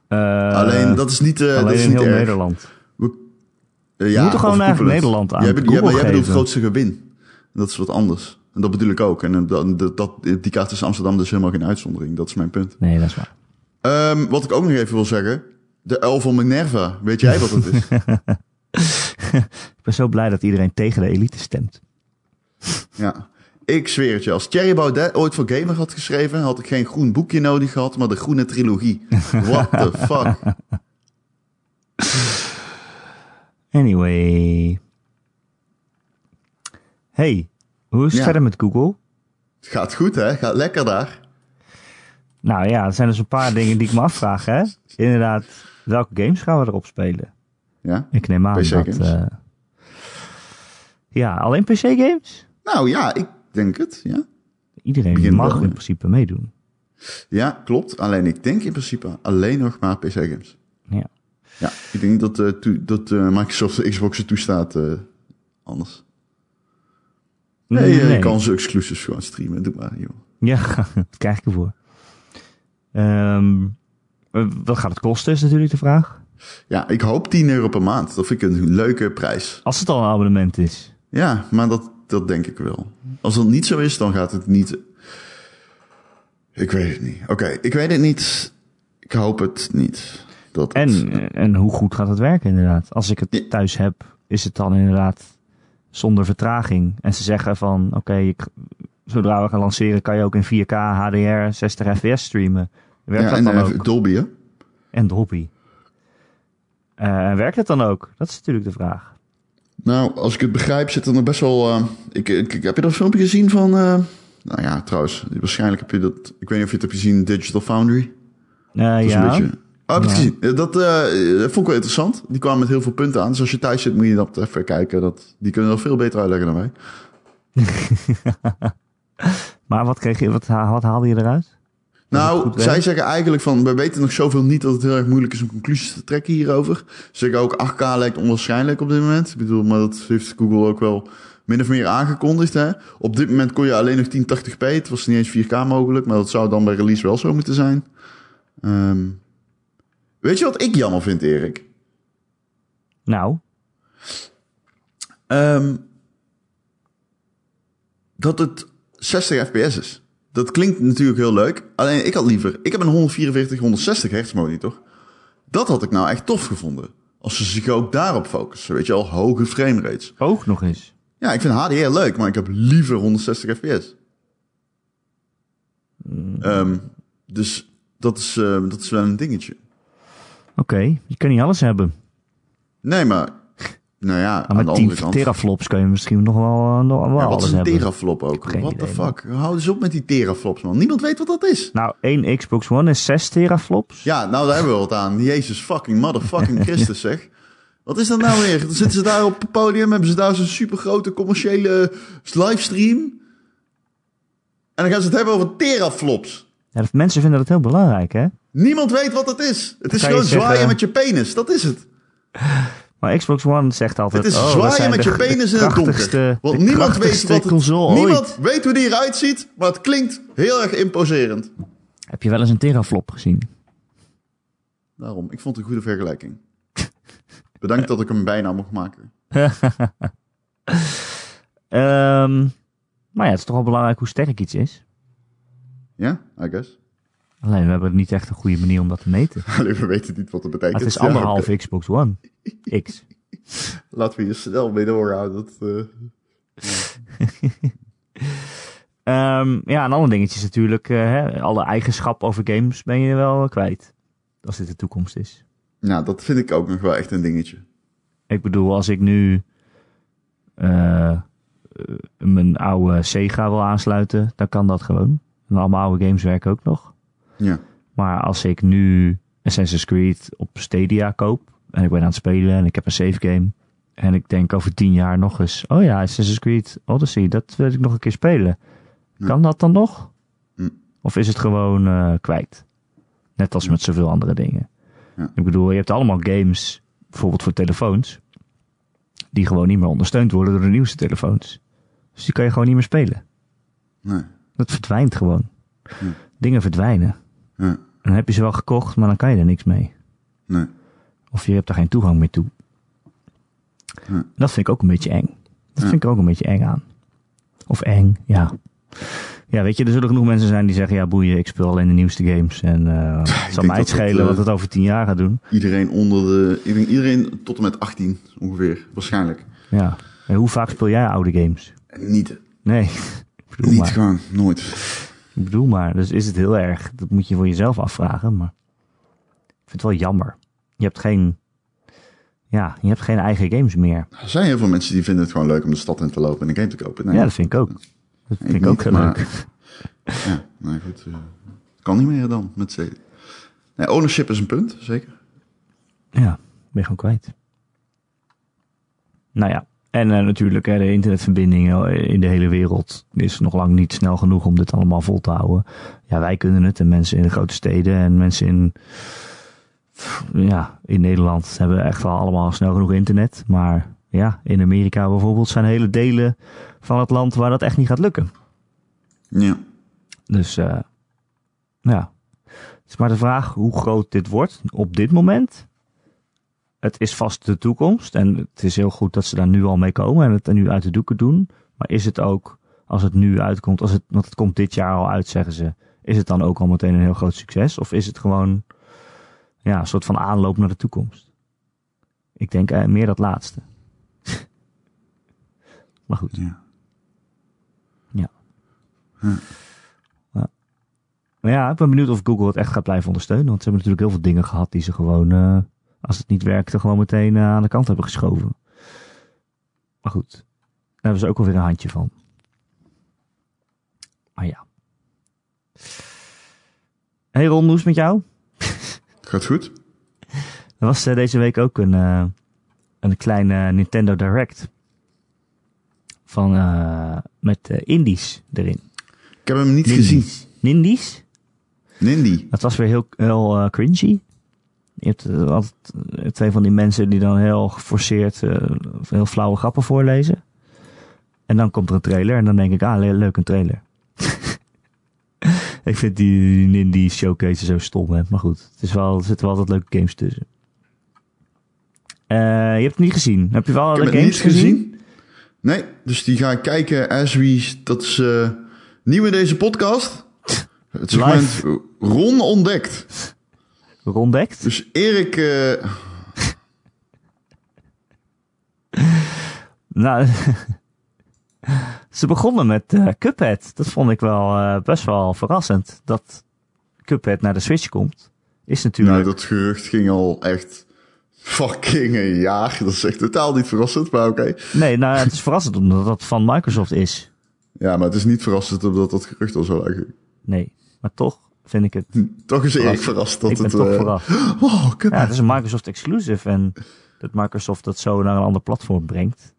A: Eh,
B: alleen, dat is niet, eh,
A: alleen
B: dat is
A: in
B: niet
A: heel
B: erg.
A: Nederland.
B: Eh,
A: Je moet toch gewoon
B: of
A: eigenlijk
B: koepelend.
A: Nederland aan
B: Jij, be-
A: Google
B: jij, jij bedoelt
A: geven.
B: grootste gewin. Dat is wat anders. En dat bedoel ik ook. En eh, dat, dat, dat- die kaart is Amsterdam dus helemaal geen uitzondering. Dat is mijn punt.
A: Nee, dat is waar.
B: Ehm, wat ik ook nog even wil zeggen. De uil van Minerva. Weet jij wat het is?
A: Ik ben zo blij dat iedereen tegen de elite stemt.
B: ja. Ik zweer het je. Als Thierry Baudet ooit voor Gamer had geschreven... had ik geen groen boekje nodig gehad... maar de groene trilogie. What the fuck?
A: Anyway. Hey, hoe is het
B: Ja.
A: verder met Google?
B: Het gaat goed, hè? Gaat lekker daar.
A: Nou ja, er zijn dus een paar dingen die ik me afvraag, hè? Inderdaad, welke games gaan we erop spelen?
B: Ja.
A: Ik neem aan
B: PC
A: dat...
B: games.
A: eh, ja, alleen PC-games?
B: Nou ja, ik denk het. Ja.
A: Iedereen
B: Begin
A: mag
B: wel,
A: in
B: ja.
A: principe meedoen.
B: Ja, klopt. Alleen ik denk in principe alleen nog maar PC-games.
A: Ja.
B: Ja, ik denk niet dat, eh, toe- dat eh, Microsoft de Xbox er toestaat eh, anders. Nee, eh, je kan ze exclusives gewoon streamen. Doe maar, joh.
A: Ja, dat krijg ik ervoor. Ehm, eh, wat gaat het kosten is natuurlijk de vraag.
B: Ja, ik hoop 10 euro per maand. Dat vind ik een leuke prijs.
A: Als het al een abonnement is.
B: Ja, maar dat, dat denk ik wel. Als dat niet zo is, dan gaat het niet... Ik weet het niet. Oké, ik weet het niet. Ik hoop het niet. Dat
A: En,
B: het-
A: eh, en hoe goed gaat het werken inderdaad? Als ik
B: Ja.
A: het thuis heb, is het dan inderdaad zonder vertraging. En ze zeggen van, oké, ik- zodra we gaan lanceren kan je ook in 4K HDR 60 fps streamen. Werkt
B: ja, en
A: dat dan
B: eh,
A: ook?
B: Dolby, hè?
A: En de hobby. Eh, werkt het dan ook? Dat is natuurlijk de vraag.
B: Nou, als ik het begrijp, zit er nog best wel. eh, ik, ik, ik- heb je dat filmpje gezien van eh, Nou ja, trouwens, waarschijnlijk heb je dat... Ik weet niet of je het hebt gezien, Digital Foundry.
A: Eh,
B: Dat is
A: ja.
B: een beetje... Oh, heb je het
A: Ja.
B: gezien? Dat eh, vond ik wel interessant. Die kwamen met heel veel punten aan. Dus als je thuis zit, moet je dat even kijken. Dat, die kunnen dat veel beter uitleggen dan wij.
A: Maar wat, kreeg je, wat, ha- wat haalde je eruit?
B: Nou,
A: goed werkt.
B: zij zeggen eigenlijk van, we weten nog zoveel niet dat het heel erg moeilijk is om conclusies te trekken hierover. Ze zeggen ook 8K lijkt onwaarschijnlijk op dit moment. Ik bedoel, maar dat heeft Google ook wel min of meer aangekondigd. Hè? Op dit moment kon je alleen nog 1080p. Het was niet eens 4K mogelijk, maar dat zou dan bij release wel zo moeten zijn. Ehm, weet je wat ik jammer vind, Erik?
A: Nou,
B: Ehm, dat het 60 fps is. Dat klinkt natuurlijk heel leuk. Alleen ik had liever... Ik heb een 144, 160 hertz monitor. Dat had ik nou echt tof gevonden. Als ze zich ook daarop focussen. Weet je al, hoge frame rates.
A: ook nog eens.
B: Ja, ik vind HDR leuk, maar ik heb liever 160 fps.
A: Hmm.
B: Ehm, dus dat is, eh, dat is wel een dingetje.
A: Oké, je kan niet alles hebben.
B: Nee, maar... Nou ja,
A: Maar
B: aan de
A: met 10
B: andere kant...
A: teraflops kun je misschien nog wel, eh, nog wel
B: Ja, wat
A: Nou, alles
B: is een
A: hebben.
B: teraflop ook?
A: Geen
B: What the
A: idee,
B: fuck? Hou eens op met die teraflops, man. Niemand weet wat dat is.
A: Nou, één Xbox One is 6 teraflops.
B: Ja, nou daar hebben we wat aan. Jezus fucking motherfucking Christus, zeg. Wat is dat nou weer? Dan zitten ze daar op het podium, hebben ze daar zo'n supergrote commerciële livestream. En dan gaan ze het hebben over teraflops.
A: Ja, dat- mensen vinden dat heel belangrijk, hè?
B: Niemand weet wat het is. Het is
A: Kan je
B: gewoon
A: zeggen-
B: zwaaien met je penis, dat is het.
A: Maar Xbox One zegt altijd...
B: Het is
A: oh, dat
B: zwaaien
A: zijn
B: met
A: de-
B: je penis
A: de
B: in het donker.
A: krachtigste-
B: Want
A: de
B: niemand weet,
A: krachtigste
B: wat het,
A: console ooit.
B: niemand weet hoe die eruit ziet, maar het klinkt heel erg imposerend.
A: Heb je wel eens een teraflop gezien?
B: Daarom, ik vond het een goede vergelijking. Bedankt dat ik hem bijna mocht maken.
A: Ehm, maar ja, het is toch wel belangrijk hoe sterk iets is.
B: Ja, I guess.
A: Alleen, we hebben niet echt een goede manier om dat te meten.
B: Alleen we weten niet wat het betekent.
A: Maar het is
B: Ja,
A: anderhalf
B: oké.
A: Xbox One. X.
B: Laten we hier snel mee doorhouden. Dat, eh,
A: Ehm, ja, een ander dingetje is natuurlijk... eh, hè, alle eigenschap over games ben je wel kwijt. Als dit de toekomst is.
B: Nou, dat vind ik ook nog wel echt een dingetje.
A: Ik bedoel, als ik nu eh, eh, mijn oude Sega wil aansluiten, dan kan dat gewoon. En al mijn oude games werken ook nog.
B: Ja.
A: Maar als ik nu Assassin's Creed op Stadia koop en ik ben aan het spelen en ik heb een save game en ik denk over tien jaar nog eens, oh ja, Assassin's Creed Odyssey, dat wil ik nog een keer spelen. Kan dat dan nog?
B: Hm.
A: Of is het gewoon eh, kwijt? Net als met zoveel andere dingen.
B: Ja.
A: Ik bedoel, je hebt allemaal games, bijvoorbeeld voor telefoons, die gewoon niet meer ondersteund worden door de nieuwste telefoons. Dus die kan je gewoon niet meer spelen.
B: Nee.
A: Dat verdwijnt gewoon. Dingen verdwijnen.
B: Ja.
A: Dan heb je ze wel gekocht, maar dan kan je er niks mee.
B: Nee.
A: Of je hebt er geen toegang meer toe.
B: Ja.
A: Dat vind ik ook een beetje eng. Dat vind ik er ook een beetje eng aan. Of eng, ja. Ja, weet je, er zullen genoeg mensen zijn die zeggen... ja, boeien, ik speel alleen de nieuwste games. En eh het zal
B: denk
A: mij het
B: dat dat,
A: schelen
B: eh,
A: wat het over tien jaar gaat doen.
B: Iedereen onder de... ik denk Iedereen tot en met 18 ongeveer. Waarschijnlijk.
A: Ja. En hoe vaak speel jij oude games?
B: Niet.
A: Nee, ik bedoel
B: Niet
A: maar.
B: gewoon. Nooit.
A: Ik bedoel maar. Dus is het heel erg. Dat moet je voor jezelf afvragen, maar... Ik vind het wel jammer. Je hebt geen... Ja, je hebt geen eigen games meer.
B: Nou, Er zijn heel veel mensen die vinden het gewoon leuk om de stad in te lopen en een game te kopen. Nee,
A: Ja, dat vind ik ook. Dat vind ik, ook
B: niet,
A: heel
B: maar-
A: leuk.
B: Ja, nou goed. eh, kan niet meer dan met z'n. Nee, ownership is een punt, zeker.
A: Ja, ben je gewoon kwijt. Nou ja, en eh, natuurlijk, hè, de internetverbinding eh, in de hele wereld is nog lang niet snel genoeg om dit allemaal vol te houden. Ja, wij kunnen het en mensen in de grote steden en mensen in, pff, ja, in Nederland hebben echt wel allemaal snel genoeg internet. Maar ja, in Amerika bijvoorbeeld zijn hele delen van het land waar dat echt niet gaat lukken.
B: Ja.
A: Dus eh, ja, het is maar de vraag hoe groot dit wordt op dit moment. Het is vast de toekomst en het is heel goed dat ze daar nu al mee komen en het er nu uit de doeken doen. Maar is het ook, als het nu uitkomt, als het, want het komt dit jaar al uit, zeggen ze, is het dan ook al meteen een heel groot succes? Of is het gewoon ja, een soort van aanloop naar de toekomst? Ik denk eh, meer dat laatste. maar goed.
B: Ja.
A: Ja. Ja. Maar ja, ik ben benieuwd of Google het echt gaat blijven ondersteunen. Want ze hebben natuurlijk heel veel dingen gehad die ze gewoon, eh, als het niet werkte, gewoon meteen eh, aan de kant hebben geschoven. Maar goed, daar hebben ze ook alweer een handje van. Maar ja. Hey Ron, hoe is het met jou?
B: Gaat goed?
A: Er was eh, deze week ook een, eh, een kleine Nintendo Direct. Van, eh, met eh, indies erin.
B: Ik heb hem niet gezien.
A: Nindies. Nindies?
B: Nindy.
A: Dat was weer heel, heel eh, cringy. Je hebt eh, altijd eh, twee van die mensen die dan heel geforceerd eh, of heel flauwe grappen voorlezen. En dan komt er een trailer en dan denk ik, ah, le- leuk een trailer. ik vind die, die, die showcase zo stom, hè. maar goed. Het is wel, er zitten wel altijd leuke games tussen. Eh, je hebt het niet gezien. Heb je wel
B: Ik
A: alle
B: heb het
A: games
B: niet gezien. Nee, dus die ga ik kijken as we... Dat is eh, nieuw in deze podcast. Het segment Ron ontdekt.
A: Rondekt.
B: Dus Erik... eh,
A: Nou, ze begonnen met eh, Cuphead. Dat vond ik wel eh, best wel verrassend. Dat Cuphead naar de Switch komt. Is natuurlijk.
B: nou, dat gerucht ging al echt fucking een jaar. Dat is echt totaal niet verrassend, maar oké.
A: Nee, nou, het is verrassend omdat dat van Microsoft is.
B: Ja, maar het is niet verrassend omdat dat gerucht al zo lang ging.
A: Nee, maar toch vind ik het.
B: Toch is Erik verrast dat
A: ik ben
B: het...
A: toch
B: eh,
A: verrast.
B: Oh, kut.
A: Ja, het is een Microsoft exclusive en dat Microsoft dat zo naar een ander platform brengt.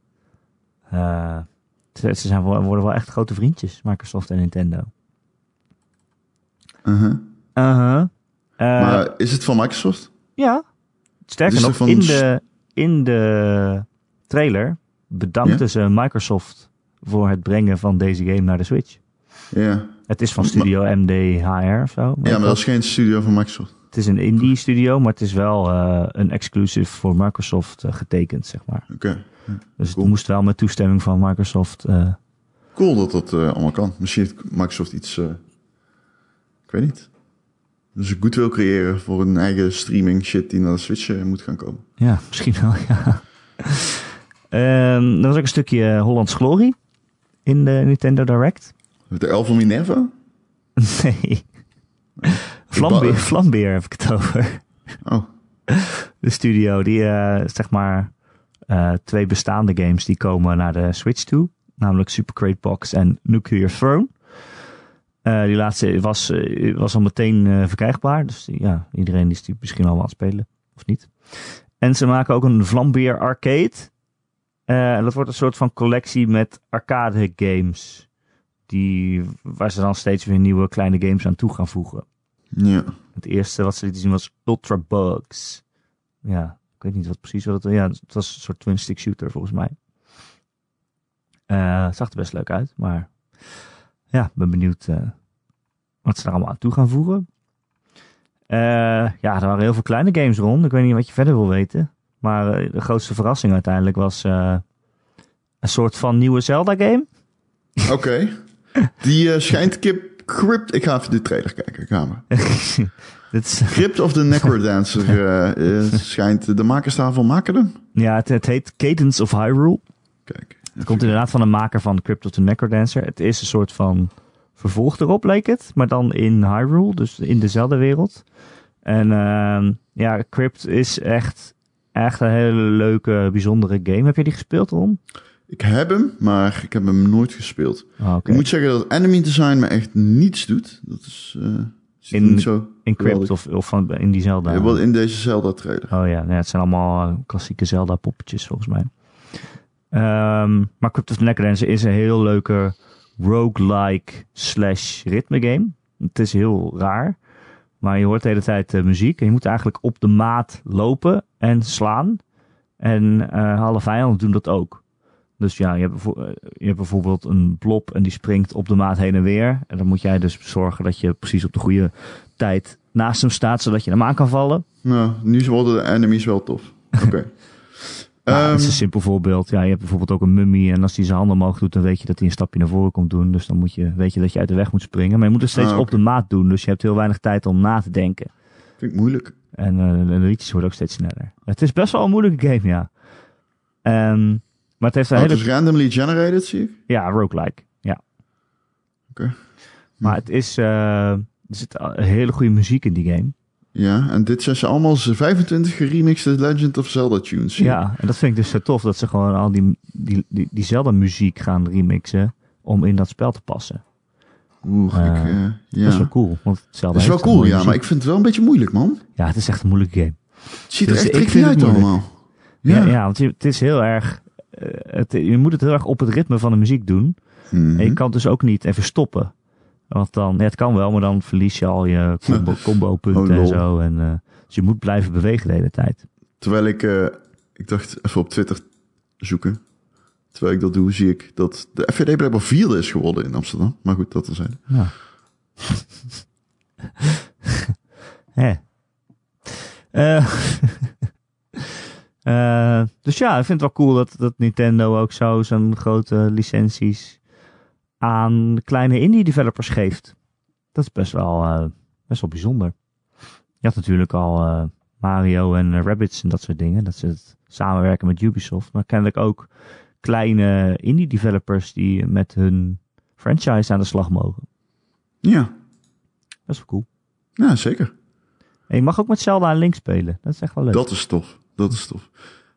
A: Eh, ze ze zijn, wel- worden wel echt grote vriendjes, Microsoft en Nintendo.
B: Uh-huh.
A: Uh-huh. Eh,
B: maar is het van Microsoft?
A: Ja. Sterker
B: Dus
A: nog,
B: er van
A: in,
B: s-
A: de, in de trailer bedankten
B: Ja?
A: ze Microsoft voor het brengen van deze game naar de Switch.
B: Ja.
A: Het is van studio MDHR of zo.
B: Ja, maar dat is geen studio van Microsoft.
A: Het is een indie studio, maar het is wel eh, een exclusive voor Microsoft eh, getekend, zeg maar.
B: Oké.
A: Dus
B: Cool.
A: het moest wel met toestemming van Microsoft. eh,
B: Cool dat dat eh, allemaal kan. Misschien heeft Microsoft iets... eh, ik weet niet. Dus goed wil creëren voor een eigen streaming shit die naar de Switch eh, moet gaan komen.
A: ja, misschien wel, ja. Ehm er was ook een stukje Hollands Glory in de Nintendo Direct.
B: De elf van Minerva?
A: Nee. Vlambeer, Vlambeer heb ik het over.
B: Oh,
A: De studio die, eh, zeg maar, eh, twee bestaande games die komen naar de Switch toe. Namelijk Super Crate Box en Nuclear Throne. Eh, die laatste was, eh, was al meteen eh, verkrijgbaar. Dus die- ja, iedereen is die misschien al wel aan het spelen. Of niet. En ze maken ook een Vlambeer Arcade. Eh, en dat wordt een soort van collectie met arcade games. Die, waar ze dan steeds weer nieuwe kleine games aan toe gaan voegen.
B: ja.
A: Het eerste wat ze lieten zien was Ultra Bugs. Ja, ik weet niet wat precies wat het Ja, het was een soort twin stick shooter volgens mij. Eh, het zag er best leuk uit, maar ja, ik ben benieuwd eh, wat ze daar allemaal aan toe gaan voegen. Eh, ja, er waren heel veel kleine games rond. Ik weet niet wat je verder wil weten. Maar eh, de grootste verrassing uiteindelijk was eh, een soort van nieuwe Zelda game.
B: Oké. Die eh, schijnt kip... Crypt... Ik ga even de trailer kijken, kamer.
A: Dit is
B: Crypt of the Necrodancer eh, eh, schijnt de makers daarvan maken hem.
A: ja, het, het heet Cadence of Hyrule.
B: Kijk.
A: Het komt inderdaad van de maker van Crypto to Necrodancer. Het is een soort van vervolg erop, leek het. Maar dan in Hyrule, dus in dezelfde wereld. En ehm, ja, Crypt is echt, echt een hele leuke, bijzondere game. Heb je die gespeeld, Ron?
B: Ik heb hem, maar ik heb hem nooit gespeeld.
A: Oh, oké.
B: Ik Ah, moet zeggen dat enemy design me echt niets doet. Dat is, eh is
A: In-
B: niet zo.
A: In Crypt
B: geweldig.
A: of, of van, in die Zelda?
B: Ja, wel in deze Zelda trailer.
A: Oh ja, nee, het zijn allemaal eh, klassieke Zelda-poppetjes volgens mij. Ehm, maar Crypt of the Necrodancer is een heel leuke roguelike slash ritme game. Het is heel raar, maar je hoort de hele tijd eh, muziek. En je moet eigenlijk op de maat lopen en slaan. En eh alle vijanden doen dat ook. Dus ja, je hebt, bijvo- eh, je hebt bijvoorbeeld een blob en die springt op de maat heen en weer. En dan moet jij dus zorgen dat je precies op de goede tijd naast hem staat, zodat je hem aan kan vallen.
B: Nou, nu worden de enemies wel tof. Oké.
A: Ja,
B: Ehm,
A: dat Nou, is een simpel voorbeeld. Ja, je hebt bijvoorbeeld ook een mummie en als die zijn handen omhoog doet, dan weet je dat hij een stapje naar voren komt doen. Dus dan moet je, weet je dat je uit de weg moet springen. Maar je moet het steeds
B: Ah, oké.
A: op de maat doen, dus je hebt heel weinig tijd om na te denken.
B: vind ik moeilijk.
A: En eh, de liedjes worden ook steeds sneller. Het is best wel een moeilijke game, ja. Ehm, maar het heeft een
B: Oh, het
A: hele...
B: is randomly generated, zie ik.
A: Ja, roguelike. Ja.
B: Oké.
A: Maar het is... eh, er zit al- hele goede muziek in die game.
B: Ja, en dit zijn ze allemaal z- 25 geremixte Legend of Zelda tunes. zie ik.
A: Ja, en dat vind ik dus zo tof dat ze gewoon al die, die, die, diezelfde muziek gaan remixen om in dat spel te passen.
B: Oeh, ik,
A: Eh,
B: eh, ja.
A: Dat is wel cool. Want hetzelfde
B: Dat is wel
A: heeft een
B: cool,
A: mooie
B: ja, maar
A: muziek.
B: ik vind het wel een beetje moeilijk, man.
A: Ja, het is echt een moeilijke game.
B: Het ziet
A: Dus
B: er echt
A: ik
B: tricky
A: vind het
B: uit
A: moeilijk.
B: allemaal.
A: Ja,
B: Ja.
A: ja, want je, het is heel erg... eh, het, je moet het heel erg op het ritme van de muziek doen.
B: Mhm.
A: En je kan het dus ook niet even stoppen. Want dan, ja, het kan wel, maar dan verlies je al je combo,
B: Oh,
A: combo-punten
B: lol.
A: en zo. En, eh, dus je moet blijven bewegen de hele tijd.
B: Terwijl ik, eh, ik dacht even op Twitter zoeken. Terwijl ik dat doe, zie ik dat de FVD blijkbaar vierde is geworden in Amsterdam. Maar goed, dat terzijde.
A: Ja. Hè. Eh, eh, dus ja, ik vind het wel cool dat, dat Nintendo ook zo zijn grote licenties aan kleine indie developers geeft. Dat is best wel, eh, best wel bijzonder. Je had natuurlijk al eh, Mario en eh, Rabbids en dat soort dingen. Dat ze het samenwerken met Ubisoft. Maar kennelijk ook kleine indie developers die met hun franchise aan de slag mogen.
B: Ja,
A: Dat is wel cool.
B: ja zeker.
A: En je mag ook met Zelda en Link spelen. Dat is echt wel leuk.
B: Dat is tof. Dat is tof.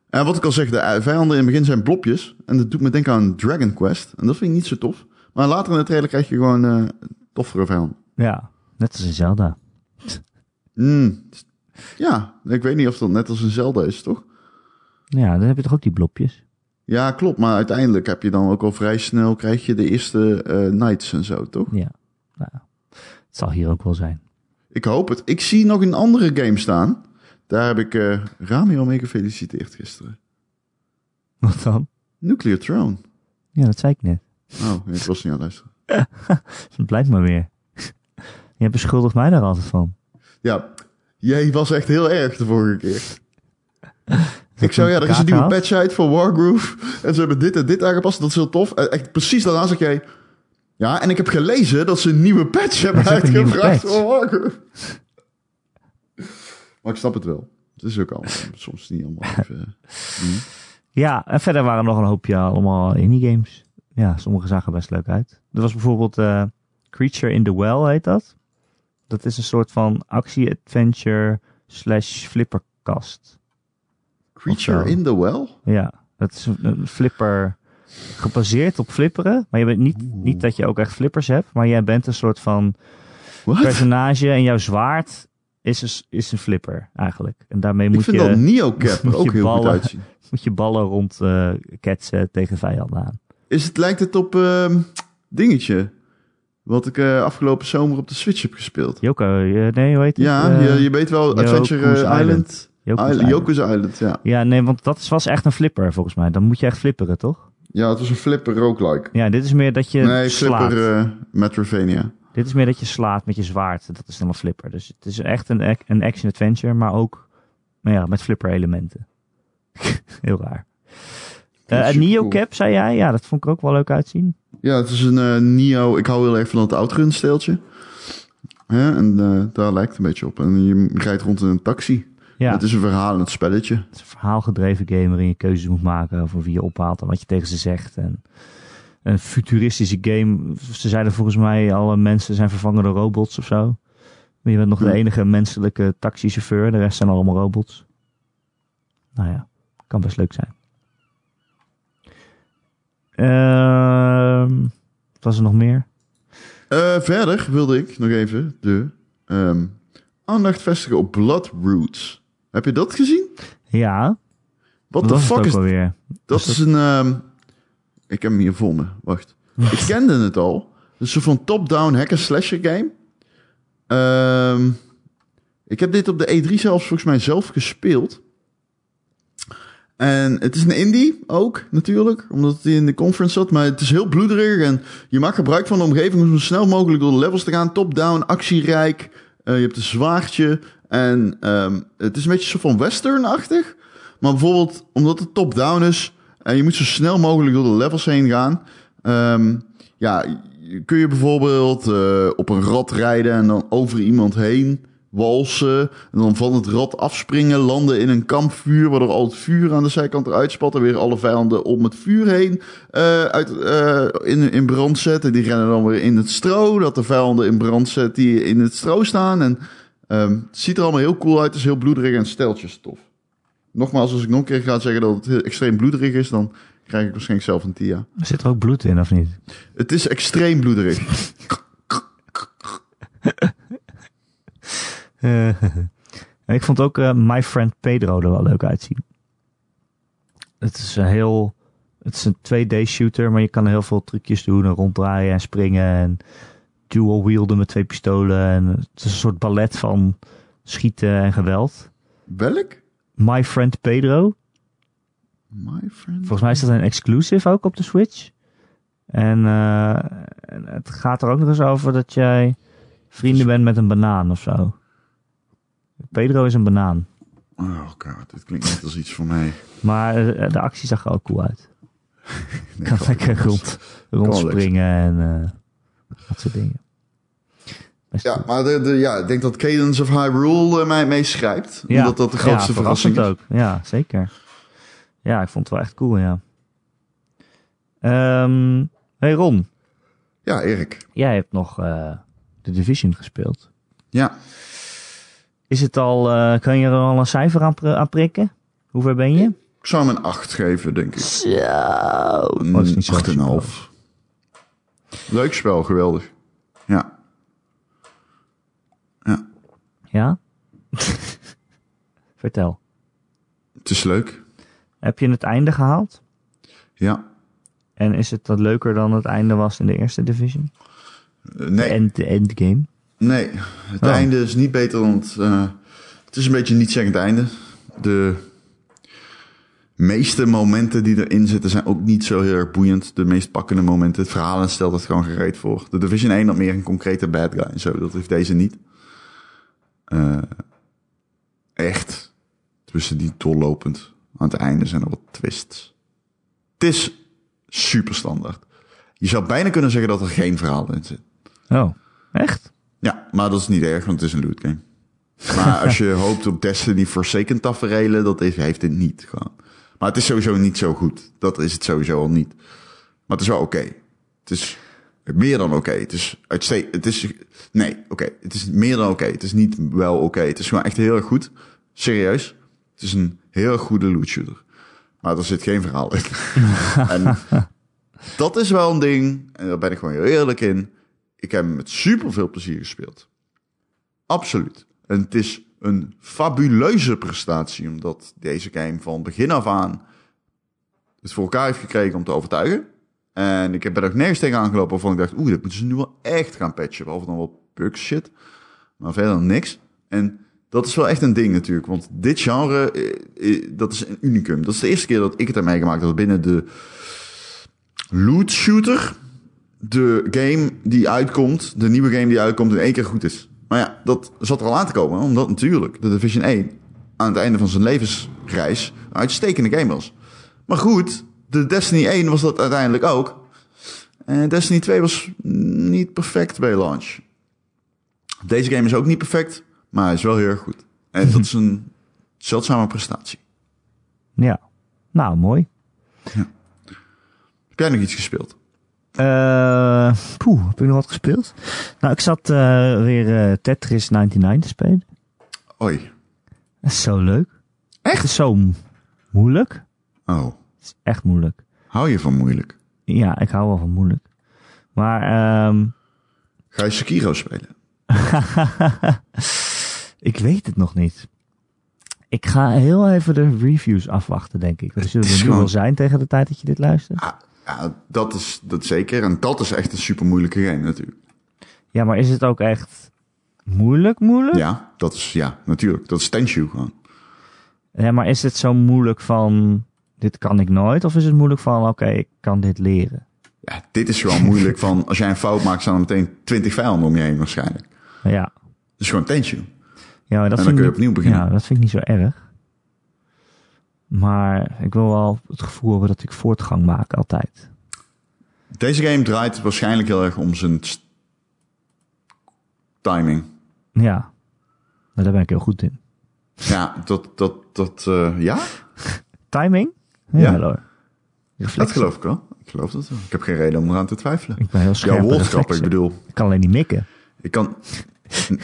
B: En wat ik al zeg, de eh, vijanden in het begin zijn blopjes. En dat doet me denken aan Dragon Quest. En dat vind ik niet zo tof. Maar later in de trailer krijg je gewoon eh toffere vijanden.
A: Ja, net als in Zelda.
B: Mm. Ja, ik weet niet of dat net als een Zelda is, toch?
A: Ja, dan heb je toch ook die blopjes.
B: Ja, klopt. Maar uiteindelijk heb je dan ook al vrij snel... krijg je de eerste eh Knights en zo, toch?
A: Ja, nou, het zal hier ook wel zijn.
B: Ik hoop het. Ik zie nog een andere game staan. Daar heb ik eh Rami al mee gefeliciteerd gisteren.
A: Wat dan?
B: Nuclear Throne.
A: Ja, dat zei ik net.
B: Oh, ik was niet aan het luisteren.
A: Dat blijkt maar weer. Jij beschuldigt mij daar altijd van.
B: Ja, jij was echt heel erg de vorige keer.
A: zo
B: Ik zou, ja, er is een nieuwe patch uit voor Wargroove. En ze hebben dit en dit aangepast. Dat is heel tof. En echt precies daarna zeg jij... Ja, en ik heb gelezen dat ze een nieuwe patch hebben
A: Er is ook een nieuwe
B: uitgebracht
A: patch.
B: voor Wargroove. Maar ik snap het wel. Het is ook allemaal soms niet allemaal even... eh,
A: Ja, en verder waren er nog een hoopje allemaal indie games. Ja, sommige zagen er best leuk uit. Er was bijvoorbeeld eh, Creature in the Well, heet dat. Dat is een soort van actie-adventure slash flipperkast.
B: Creature
A: Of zo.
B: in the Well?
A: Ja, dat is een, een flipper gebaseerd op flipperen. Maar je bent niet, niet dat je ook echt flippers hebt, maar jij bent een soort van
B: Wat?
A: personage en jouw zwaard is een, s- is een flipper eigenlijk. En daarmee
B: Ik
A: moet
B: vind
A: je,
B: dat Neo Cap
A: moet
B: er ook
A: je
B: heel goed
A: ballen.
B: uitzien.
A: moet je ballen rond eh, ketsen tegen vijanden aan.
B: Is het, lijkt het op ehm, dingetje? Wat ik eh, afgelopen zomer op de Switch heb gespeeld.
A: Joko, eh, nee, hoe heet het?
B: Ja,
A: Eh,
B: je, je weet wel,
A: Yoku's
B: Adventure eh, Island. Island.
A: Island. Joko's Island.
B: Yoku's Island, ja.
A: Ja, nee, want dat is- was echt een flipper volgens mij. Dan moet je echt flipperen, toch?
B: Ja, het was een flipper roguelike.
A: Ja, dit is meer dat je
B: nee,
A: slaat.
B: flipper eh, Metrovania.
A: Dit is meer dat je slaat met je zwaard. Dat is dan een flipper. Dus het is echt een, ac- een action-adventure, maar ook nou ja, met flipper-elementen. Heel raar. Eh en
B: supercool.
A: Neocap, zei jij? Ja, dat vond ik ook wel leuk uitzien.
B: Ja, het is een eh Neo. Ik hou heel erg van dat outrun-steeltje. Hè, en eh, daar lijkt het een beetje op. En je rijdt rond in een taxi.
A: Ja,
B: Het
A: het is
B: is een verhalend spelletje.
A: een verhaalgedreven game waarin je keuzes moet maken over wie je ophaalt en wat je tegen ze zegt. En een futuristische game. Ze zeiden volgens mij alle mensen zijn vervangen door robots of zo. Maar je bent nog de
B: Ja.
A: enige menselijke taxichauffeur. De rest zijn allemaal robots. Nou ja, kan best leuk zijn. Ehm, wat was er nog meer?
B: Eh, verder wilde ik nog even de ehm, aandacht vestigen op Bloodroots. Heb je dat gezien?
A: Ja,
B: What
A: dat
B: the
A: was het
B: fuck
A: ook
B: is...
A: alweer.
B: Dat is een... ehm, ik heb hem hier voor me. Wacht. ik kende het al. Het is een van top-down hacker-slasher game. Ehm, ik heb dit op de E3 zelfs volgens mij zelf gespeeld. En het is een indie ook, natuurlijk. Omdat hij in de conference zat. Maar het is heel bloederig. En je maakt gebruik van de omgeving om zo snel mogelijk door de levels te gaan. Top-down, actierijk. Eh, je hebt een zwaardje. En ehm, het is een beetje zo van western-achtig. Maar bijvoorbeeld, omdat het top-down is en je moet zo snel mogelijk door de levels heen gaan. ehm, ja, je- kun je bijvoorbeeld eh, op een rad rijden en dan over iemand heen walsen. En dan van het rad afspringen, landen in een kampvuur, waardoor al het vuur aan de zijkant eruit spat. En weer alle vijanden om het vuur heen eh, uit, eh, in, in brand zetten. Die rennen dan weer in het stro, dat de vijanden in brand zet die in het stro staan. En ehm, het ziet er allemaal heel cool uit, het is heel bloederig en steltjes tof. Nogmaals, als ik nog een keer ga zeggen dat het heel extreem bloederig is, dan krijg ik waarschijnlijk zelf een TIA.
A: Er zit er ook bloed in, of niet?
B: Het is extreem bloederig.
A: Eh, ik vond ook eh, My Friend Pedro er wel leuk uitzien. Het is een heel... Het is een 2D shooter, maar je kan er heel veel trucjes doen. En ronddraaien en springen. En dual wielden met twee pistolen. En het is een soort ballet van schieten en geweld.
B: Welk?
A: My Friend Pedro.
B: My friend.
A: Volgens mij is dat een exclusive ook op de Switch. En eh, en het gaat er ook nog eens over dat jij vrienden bent met een banaan of zo. Pedro is een banaan.
B: Oh god, dit klinkt net als iets voor mij.
A: Maar eh, de actie zag er ook cool uit.
B: Nee,
A: kan
B: gewoon
A: lekker
B: iets.
A: rond, rondspringen en eh, dat soort dingen. Best
B: Ja,
A: goed.
B: maar de, de, ja, ik denk dat Cadence of Hyrule eh, mij meeschrijft.
A: Ja,
B: Omdat dat de grootste
A: ja,
B: verrassing
A: verrassend
B: is.
A: ook. Ja, zeker. Ja, ik vond het wel echt cool, ja. Ehm hey Ron,
B: Ja, Erik.
A: jij hebt nog eh The Division gespeeld.
B: Ja.
A: Is het al, eh, kan je er al een cijfer aan, pr- aan prikken? Hoe ver ben je?
B: Ik zou hem een 8 geven, denk ik.
A: Zo. Oh, dat is niet zo
B: mm, Een 8,5. Leuk spel, geweldig. Ja. Ja,
A: Ja? Vertel.
B: het is leuk.
A: Heb je het einde gehaald?
B: Ja.
A: En is het dat leuker dan het einde was in de eerste division?
B: Eh, Nee,
A: En de endgame?
B: nee. het
A: Oh.
B: einde is niet beter dan het... eh, het is een beetje een niet-zeggend einde. De meeste momenten die erin zitten zijn ook niet zo heel erg boeiend. De meest pakkende momenten. Het verhaal stelt het gewoon gereed voor. De Division 1 had meer een concrete bad guy en zo. Dat heeft deze niet. Eh, echt. Tussen die doorlopend. Aan het einde zijn er wat twists. Het is super standaard. Je zou bijna kunnen zeggen dat er geen verhaal in zit.
A: Oh, echt?
B: Ja, maar dat is niet erg, want het is een loot game. Maar als je hoopt op Destiny Forsaken tafereelen, dat heeft, heeft dit niet. Gewoon. Maar het is sowieso niet zo goed. Dat is het sowieso al niet. Maar het is wel oké. Het is meer dan oké. Het is uitste- Het is... Nee, oké. Het is meer dan oké. Het is niet wel oké. Het is gewoon echt heel erg goed. Serieus. Het is een heel goede loot shooter. Maar er zit geen verhaal in. en dat is wel een ding. En daar ben ik gewoon heel eerlijk in. Ik heb hem met super veel plezier gespeeld. Absoluut. En het is een fabuleuze prestatie, omdat deze game van begin af aan het voor elkaar heeft gekregen om te overtuigen. En ik heb er ook nergens tegen aangelopen waarvan ik dacht, oeh, dat moeten ze nu wel echt gaan patchen. Behalve dan wel bug shit, maar verder dan niks. En dat is wel echt een ding natuurlijk, want dit genre, eh, eh, dat is een unicum. Dat is de eerste keer dat ik het heb meegemaakt, dat binnen de loot shooter de game die uitkomt, de nieuwe game die uitkomt, in één keer goed is. Maar ja, dat zat er al aan te komen, omdat natuurlijk de Division 1 aan het einde van zijn levensreis een uitstekende game was. Maar goed, de Destiny 1 was dat uiteindelijk ook. En Destiny 2 was niet perfect bij launch. Deze game is ook niet perfect, maar hij is wel heel erg goed. En dat is een zeldzame prestatie.
A: Ja. Nou, mooi.
B: Heb jij nog iets gespeeld?
A: Eh, poeh, heb ik nog wat gespeeld? Nou, ik zat eh, weer eh, Tetris 99 te spelen.
B: Oei.
A: Dat is zo leuk.
B: Echt?
A: Het is zo m- moeilijk.
B: Oh,
A: Het is echt moeilijk.
B: hou je van moeilijk?
A: Ja, ik hou wel van moeilijk. Maar ehm
B: Ga je Sekiro spelen?
A: ik weet het nog niet. Ik ga heel even de reviews afwachten, denk ik. Dat zullen
B: is
A: er nu
B: gewoon-
A: wel zijn tegen de tijd dat je dit luistert.
B: Ja, ja, dat is dat zeker. En dat is echt een super moeilijke game natuurlijk.
A: Ja, maar is het ook echt moeilijk, moeilijk?
B: Ja, dat is ja, natuurlijk. Dat is Tenshu gewoon.
A: Ja, maar is het zo moeilijk van dit kan ik nooit? Of is het moeilijk van oké, ik kan dit leren?
B: Ja, dit is gewoon moeilijk van als jij een fout maakt, staan er meteen 20 vijanden om je heen waarschijnlijk.
A: Ja,
B: Dat is gewoon Tenshu.
A: ja maar dat
B: En dan
A: vind
B: kun je
A: ik niet-
B: opnieuw beginnen.
A: Ja, dat vind ik niet zo erg. Maar ik wil wel het gevoel hebben dat ik voortgang maak altijd.
B: Deze game draait waarschijnlijk heel erg om zijn st- timing.
A: Ja, Nou, daar ben ik heel goed in.
B: Ja, dat, dat, dat, eh, ja,
A: Timing?
B: Ja.
A: hoor.
B: dat
A: Reflectie.
B: geloof ik wel. Ik geloof dat wel. Ik heb geen reden om eraan te twijfelen.
A: Ik ben heel scherp.
B: Jouw
A: bij
B: woordgrap, ik
A: reflexen.
B: bedoel.
A: Ik kan alleen niet mikken.
B: Ik kan,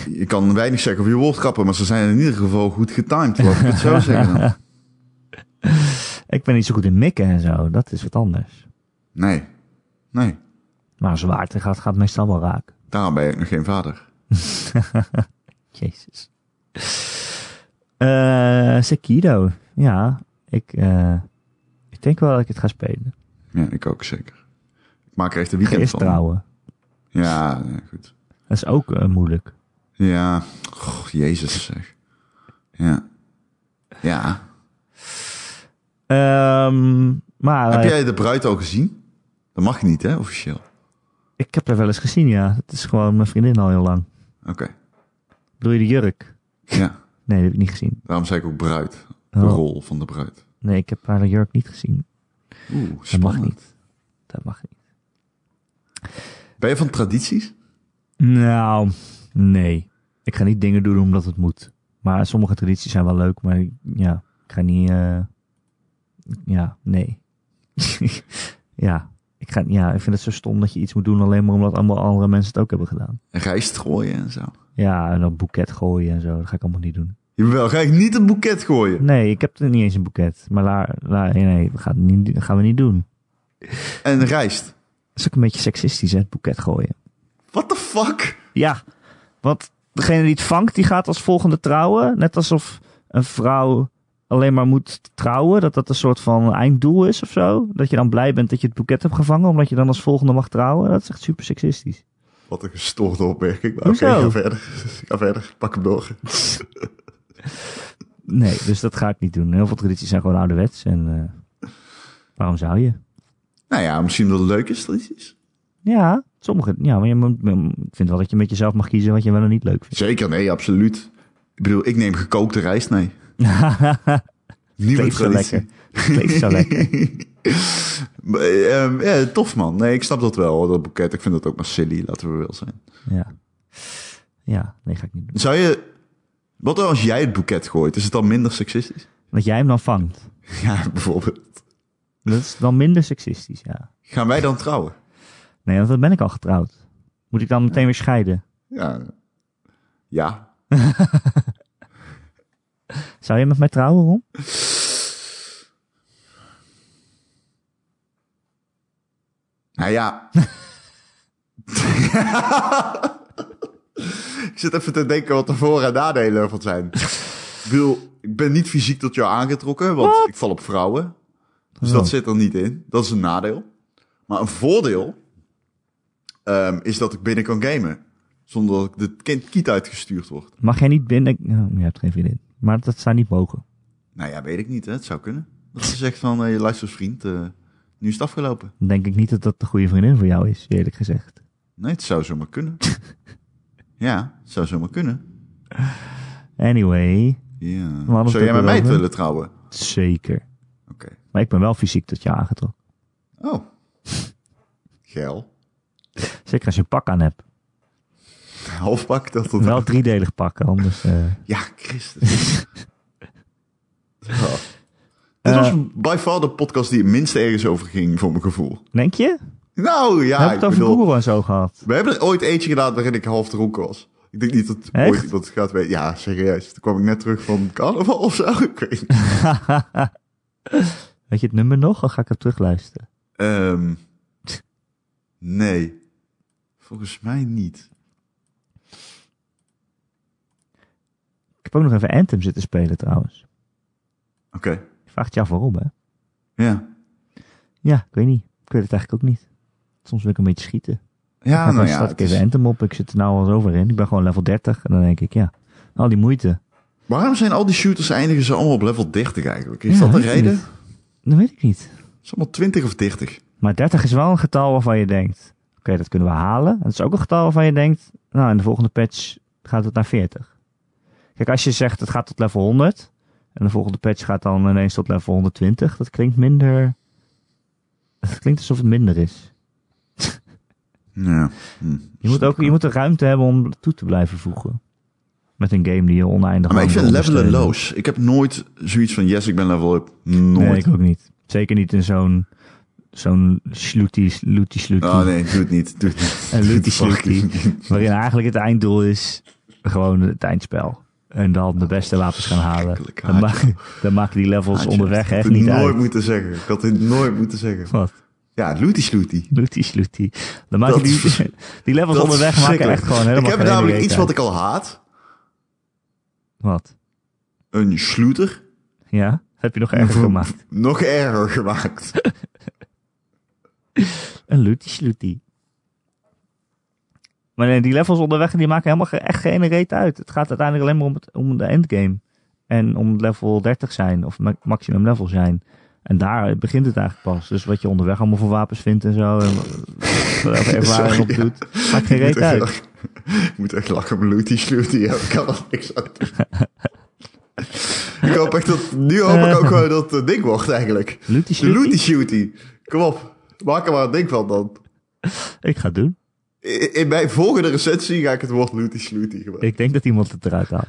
B: ik kan weinig zeggen over je woordgrappen, maar ze zijn in ieder geval goed getimed. Laat ik het zo zeggen dan.
A: Ik ben niet zo goed in mikken en zo. Dat is wat anders.
B: Nee. Nee.
A: Maar zwaarte gaat, gaat meestal wel raken.
B: Daarom ben ik nog geen vader.
A: Jezus. Eh Sekido. Ja, ik, eh, ik denk wel dat ik het ga spelen.
B: Ja, ik ook zeker. Ik maak er echt een weekend
A: Geest
B: van.
A: trouwen.
B: Ja, ja, goed.
A: Dat is ook eh, moeilijk.
B: Ja, Goh, jezus zeg. Ja. Ja.
A: Ehm, maar
B: Heb
A: eh,
B: jij de bruid al gezien? Dat mag niet, hè, officieel.
A: eh, ik heb haar wel eens gezien, ja. Het is gewoon mijn vriendin al heel lang.
B: Oké.
A: Bedoel je de jurk?
B: Ja,
A: Nee, dat heb ik niet gezien.
B: daarom zei ik ook bruid. De
A: Oh,
B: rol van de bruid.
A: nee, ik heb haar de jurk niet gezien.
B: Oeh, spannend.
A: Dat mag niet. Dat mag niet.
B: Ben je van tradities?
A: Nou, nee. Ik ga niet dingen doen omdat het moet. Maar sommige tradities zijn wel leuk, maar ja, ik ga niet. eh, ja, nee. ja, ik ga, ja, ik vind het zo stom dat je iets moet doen alleen maar omdat allemaal andere mensen het ook hebben gedaan.
B: Rijst gooien en zo.
A: Ja, en dan boeket gooien en zo. Dat ga ik allemaal niet doen.
B: Jawel, ga ik niet een boeket gooien.
A: Nee, ik heb er niet eens een boeket. Maar la, la, nee, nee, we gaan, het niet, dat gaan we niet doen.
B: En rijst.
A: Dat is ook een beetje seksistisch, hè, het boeket gooien.
B: What the fuck?
A: Ja, want degene die het vangt, die gaat als volgende trouwen. Net alsof een vrouw alleen maar moet trouwen. Dat dat een soort van einddoel is of zo. Dat je dan blij bent dat je het boeket hebt gevangen, omdat je dan als volgende mag trouwen. Dat is echt super seksistisch.
B: Wat een gestoorde opmerking. Maar Oké,
A: Hoezo?
B: ga verder. Ga verder. Pak hem door.
A: Nee, dus dat ga ik niet doen. Heel veel tradities zijn gewoon ouderwets. En eh, waarom zou je?
B: Nou ja, misschien dat het leuk is, tradities.
A: Ja, sommige. Ja, maar je moet, ik vind wel dat je met jezelf mag kiezen wat je wel en niet leuk vindt.
B: Zeker, nee, absoluut. Ik bedoel, ik neem gekookte rijst mee. Nieuwe
A: Kleeft zo
B: traditie.
A: lekker. Kleeft zo lekker.
B: Maar, eh, ehm, ja, tof man. Nee, ik snap dat wel, hoor, dat boeket. Ik vind dat ook maar silly, laten we wel zijn.
A: Ja. ja, nee, ga ik niet doen.
B: Zou je... Wat dan als jij het boeket gooit? Is het dan minder seksistisch?
A: Dat jij hem dan vangt.
B: Ja, bijvoorbeeld.
A: Dat is dan minder seksistisch, ja.
B: Gaan wij dan trouwen?
A: Nee, want dan ben ik al getrouwd. Moet ik dan meteen weer scheiden?
B: Ja. Ja.
A: Zou je met mij trouwen, Ron?
B: Nou ja. ik zit even te denken wat de voor- en nadelen van zijn. Ik bedoel, ik ben niet fysiek tot jou aangetrokken, want ik val op vrouwen. Dus dat
A: Oh.
B: zit er niet in. Dat is een nadeel. Maar een voordeel ehm, is dat ik binnen kan gamen. Zonder dat ik de kind kiet uitgestuurd word.
A: Mag jij niet binnen... Nou, je hebt geen vriendin. Maar dat zou niet mogen.
B: Nou ja, weet ik niet. Hè? Het zou kunnen. Dat ze zegt van, eh, je luistert vriend, eh, nu is het afgelopen.
A: Dan denk ik niet dat dat de goede vriendin voor jou is, eerlijk gezegd.
B: Nee, het zou zomaar kunnen. ja, het zou zomaar kunnen.
A: Anyway,
B: Ja.
A: hadden het
B: Zou jij
A: ook
B: met mij
A: erover.
B: willen trouwen?
A: zeker.
B: Oké.
A: Maar ik ben wel fysiek tot je aangetrokken.
B: Oh. Geil.
A: Zeker als je een pak aan hebt.
B: Halfpak dat tot...
A: Wel driedelig pak, anders... eh,
B: Ja, Christus. Oh. Dit was Eh, by far de podcast die het minst ergens over ging, voor mijn gevoel.
A: Denk je?
B: Nou ja,
A: heb ik
B: ik
A: het over
B: bedoel,
A: Google en zo gehad?
B: we hebben er ooit eentje gedaan waarin ik half dronken was. Ik denk niet dat
A: Echt?
B: ooit iemand gaat weten. Ja, serieus. Toen kwam ik net terug van carnaval of zo. Ik weet niet.
A: Weet je het nummer nog? Of ga ik het terugluisteren?
B: Ehm, nee, volgens mij niet.
A: Ik heb ook nog even Anthem zitten spelen trouwens.
B: Oké,
A: Je vraagt je af waarom, hè?
B: ja.
A: Ja, ik weet niet. Ik weet het eigenlijk ook niet. Soms wil ik een beetje schieten.
B: Ja,
A: dan
B: nou
A: staat
B: ja.
A: ik
B: het
A: even
B: is-
A: Anthem op. Ik zit er nou al eens over in. Ik ben gewoon level 30. En dan denk ik, ja, al die moeite.
B: Waarom zijn al die shooters eindigen ze allemaal op level 30 eigenlijk? Is
A: Ja,
B: dat de
A: weet ik
B: reden?
A: niet. Dat weet ik niet.
B: Het is allemaal 20 of 30.
A: Maar 30 is wel een getal waarvan je denkt, oké, dat kunnen we halen. En het is ook een getal waarvan je denkt, nou, in de volgende patch gaat het naar 40. Kijk, als je zegt het gaat tot level 100. En de volgende patch gaat dan ineens tot level 120. Dat klinkt minder... Het klinkt alsof het minder is.
B: Ja. Hm.
A: Je moet ook je moet de ruimte hebben om toe te blijven voegen. Met een game die je oneindig
B: Maar ik
A: lang
B: vind
A: wil
B: levelen
A: ondersteunen.
B: loos. Ik heb nooit zoiets van, yes, ik ben level up. Nooit.
A: Nee, ik ook niet. Zeker niet in zo'n zo'n sloetie, sloetie, sloetie.
B: Oh nee, doe het niet. Doe het niet.
A: Een looty
B: Doe het
A: slooty.
B: fucking niet.
A: Waarin eigenlijk het einddoel is gewoon het eindspel. En dan de beste wapens gaan halen.
B: Schrikkelijk.
A: Dan, ma dan maken die levels
B: Had je-
A: onderweg
B: had
A: echt
B: het
A: niet
B: nooit
A: uit.
B: moeten zeggen. Ik had dit nooit moeten zeggen.
A: Wat?
B: Ja, Looty Slooty.
A: Lootie slootie. Dan maken
B: Dat
A: die,
B: is vers-
A: die levels
B: Dat is
A: onderweg maken
B: verschrikkelijk.
A: echt gewoon helemaal
B: Ik heb
A: geen
B: namelijk
A: reet
B: iets
A: uit.
B: wat ik al haat.
A: Wat?
B: Een sloeter.
A: Ja? Heb je nog erger gemaakt?
B: Nog erger gemaakt.
A: Een lootie slootie. Maar nee, die levels onderweg die maken helemaal ge- echt geen reet uit. Het gaat uiteindelijk alleen maar om, het, om de endgame. En om level 30 zijn, of ma- maximum level zijn. En daar begint het eigenlijk pas. Dus wat je onderweg allemaal voor wapens vindt en zo. En wat ervaring
B: Sorry,
A: op
B: ja.
A: doet. Maakt geen
B: Ik moet
A: reet
B: echt
A: uit.
B: lachen. Ik moet echt lachen om Looty Slooty. Ja, ik kan er niks aan doen. Ik hoop echt dat... Nu hoop ik ook gewoon dat het ding wordt eigenlijk.
A: Lootie
B: De
A: slootie?
B: Looty Shooty. Kom op. Maak er maar een ding van dan.
A: Ik ga het doen.
B: In in mijn volgende recensie ga ik het woord Looty Slooty gebruiken.
A: Ik denk dat iemand het eruit haalt.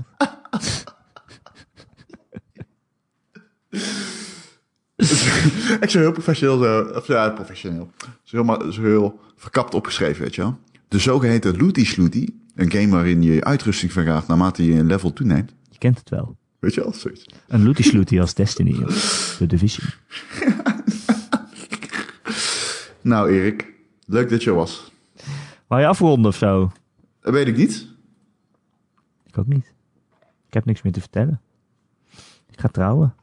B: Echt zo heel professioneel. Zo, of ja, professioneel. Zo heel, maar- zo heel verkapt opgeschreven, weet je wel. De zogeheten Looty Slooty. Een game waarin je uitrusting vergaat naarmate je een level toeneemt.
A: Je kent het wel.
B: Weet je wel, zoiets.
A: Een looty slooty als Destiny. joh. De Division.
B: Nou Erik, leuk dat je er was.
A: Wou je afronden of zo?
B: Dat weet ik niet.
A: Ik ook niet. Ik heb niks meer te vertellen. Ik ga trouwen.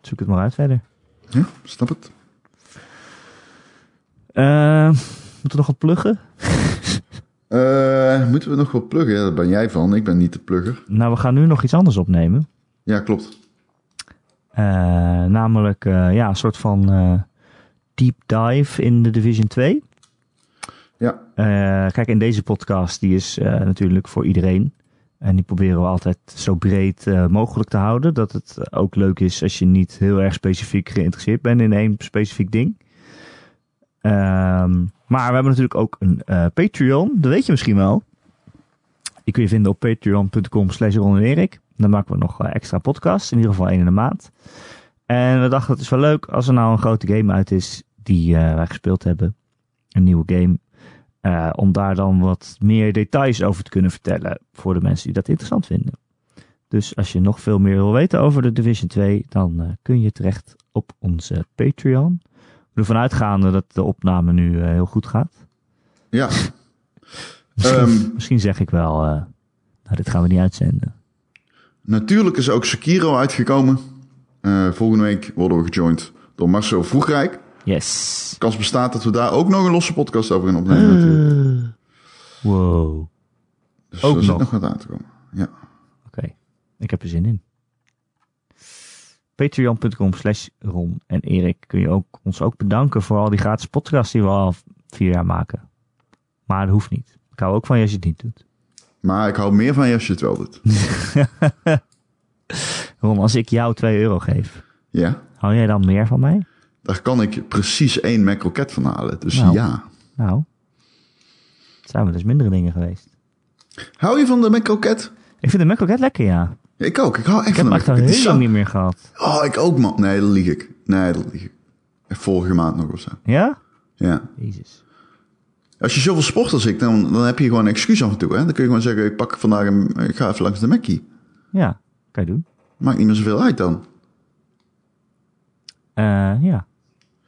A: Zoek het maar uit verder.
B: Ja, snap het.
A: Eh, moeten we nog wat pluggen?
B: Eh, moeten we nog wat pluggen? Ja, daar ben jij van. Ik ben niet de plugger.
A: Nou, we gaan nu nog iets anders opnemen.
B: Ja, klopt.
A: Eh, namelijk eh, ja, een soort van eh, deep dive in de Division 2.
B: Ja,
A: Eh, kijk, in deze podcast, die is eh, natuurlijk voor iedereen. En die proberen we altijd zo breed eh, mogelijk te houden. Dat het ook leuk is als je niet heel erg specifiek geïnteresseerd bent in één specifiek ding. Ehm, maar we hebben natuurlijk ook een eh, Patreon. Dat weet je misschien wel. Die kun je vinden op patreon.com slash Ron en Erik. Dan maken we nog eh, extra podcasts. In ieder geval één in de maand. En we dachten, het is wel leuk als er nou een grote game uit is die eh, wij gespeeld hebben. Een nieuwe game. Eh, om daar dan wat meer details over te kunnen vertellen voor de mensen die dat interessant vinden. Dus als je nog veel meer wil weten over de Division 2, dan eh, kun je terecht op onze Patreon. We ervan uitgaande dat de opname nu eh, heel goed gaat.
B: ja.
A: Misschien,
B: Ehm.
A: misschien zeg ik wel, eh, nou dit gaan we niet uitzenden.
B: Natuurlijk is ook Sekiro uitgekomen. Eh, volgende week worden we gejoind door Marcel Vroegrijk.
A: Yes.
B: Kans bestaat dat we daar ook nog een losse podcast over gaan opnemen. natuurlijk.
A: Eh. Wow.
B: Dus
A: ook
B: er zit
A: nog.
B: nog wat aan te komen. Ja.
A: Oké, ik heb er zin in. Patreon.com slash Ron en Erik kun je ook, ons ook bedanken voor al die gratis podcasts die we al vier jaar maken. Maar dat hoeft niet. Ik hou ook van je als je het niet doet.
B: Maar ik hou meer van je als je het wel doet.
A: Ron, als ik jou 2 euro geef,
B: Ja,
A: hou jij dan meer van mij?
B: daar kan ik precies één macroket van halen. Dus
A: Nou.
B: ja.
A: Nou, het zijn wel dus mindere dingen geweest.
B: Hou je van de macroket?
A: Ik vind de Mac ook echt lekker, ja.
B: Ik ook. Ik hou echt
A: Ik heb
B: van
A: hem
B: de
A: echt al
B: macroket. Het is
A: heel
B: zo-
A: lang niet meer gehad.
B: Oh, ik ook, man. Nee, dat lieg ik. Nee, dat lieg ik. Vorige maand nog of zo.
A: Ja?
B: Ja.
A: Jezus.
B: Als je zoveel sport als ik, dan, dan heb je gewoon een excuus af en toe. Hè? Dan kun je gewoon zeggen, ik pak vandaag een, ik ga even langs de Mackie.
A: Ja, kan je doen.
B: Maakt niet meer zoveel uit dan.
A: Eh, ja.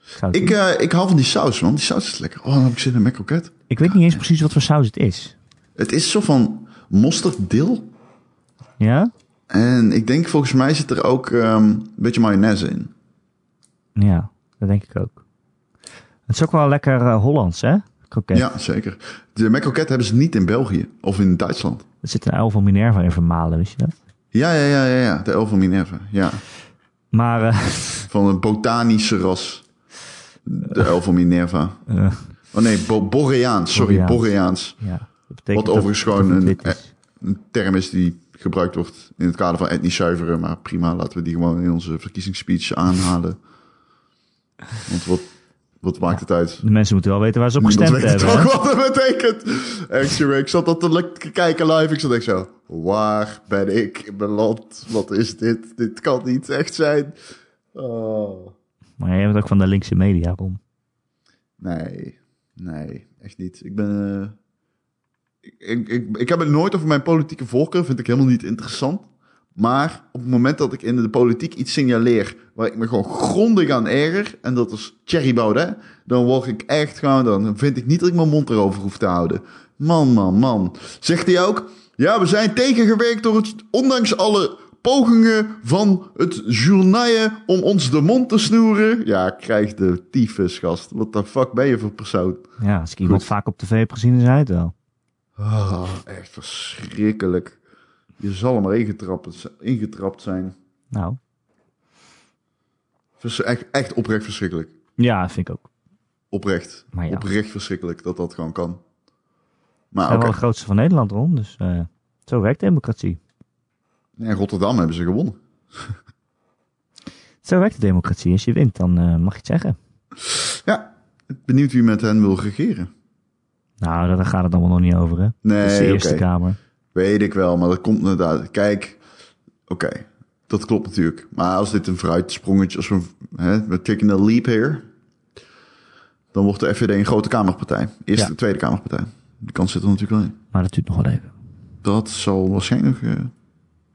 A: Ik zou het
B: Ik,
A: doen.
B: eh, ik hou van die saus, man. Die saus is lekker. Oh, dan heb ik zin in een macroket.
A: ik weet niet eens precies wat voor saus het is.
B: Het is zo van mosterdil.
A: Ja?
B: En ik denk, volgens mij zit er ook ehm, een beetje mayonaise in.
A: Ja, dat denk ik ook. Het is ook wel lekker eh, Hollands, hè? Kroket.
B: Ja, zeker. De macroket hebben ze niet in België of in Duitsland.
A: Er zit een uil van Minerva in vermalen, wist je dat?
B: Ja, ja, ja, ja. ja. De El van Minerva. Ja.
A: Maar, eh,
B: Van een botanische ras. De El van Minerva.
A: eh,
B: Oh nee, Bo- Boreaans. Sorry,
A: Boreaans.
B: Boreaans.
A: ja. Dat betekent
B: Wat overigens
A: dat-
B: gewoon
A: dat het
B: een- eh,
A: wit is.
B: Een term is die gebruikt wordt in het kader van etnisch zuiveren. Maar prima, laten we die gewoon in onze verkiezingsspeech aanhalen. Want wat, wat maakt het uit?
A: De mensen moeten wel weten waar ze op
B: Niemand
A: gestemd
B: weet
A: hebben.
B: toch
A: hè?
B: wat dat betekent. Echt, jongen, ik zat dat te le- te kijken live. Ik zat echt zo, waar ben ik in mijn land? Wat is dit? Dit kan niet echt zijn. Oh.
A: Maar jij bent ook van de linkse media, om.
B: Nee, nee, echt niet. Ik ben. eh, ik, ik, ik, ik heb het nooit over mijn politieke voorkeur, vind ik helemaal niet interessant. Maar op het moment dat ik in de politiek iets signaleer waar ik me gewoon grondig aan erger, en dat is Thierry Baudet, dan word ik echt gewoon, dan vind ik niet dat ik mijn mond erover hoef te houden. Man, man, man. Zegt hij ook, ja, we zijn tegengewerkt door het, ondanks alle pogingen van het journaille om ons de mond te snoeren. Ja, krijg de tyfus, gast. Wat de fuck ben je voor persoon?
A: Ja, als ik iemand
B: Goed.
A: vaak op tv heb gezien, is hij het wel.
B: Ah, echt verschrikkelijk. Je zal hem maar ingetrapt, ingetrapt zijn.
A: Nou,
B: Vers- Echt, echt oprecht verschrikkelijk.
A: ja, vind ik ook.
B: Oprecht.
A: Maar ja.
B: Oprecht verschrikkelijk dat dat gewoon kan. Maar
A: Hij
B: Ah, oké.
A: wel de grootste van Nederland rond, dus eh, zo werkt democratie.
B: Ja, in Rotterdam hebben ze gewonnen.
A: Zo werkt de democratie. Als je wint, dan eh, mag je het zeggen.
B: Ja, benieuwd wie met hen wil regeren.
A: Nou, daar- daar gaat het allemaal nog niet over, hè?
B: Nee,
A: dat is de Eerste
B: oké.
A: Kamer.
B: Weet ik wel, maar dat komt inderdaad. Kijk, oké, dat klopt natuurlijk. Maar als dit een vooruitsprongetje, als we, hè, we taking a leap here, dan wordt de FVD een grote Kamerpartij. Eerste
A: Ja.
B: Tweede Kamerpartij. Die kans zit er natuurlijk wel in.
A: Maar dat duurt nog wel even.
B: Dat zal waarschijnlijk. eh,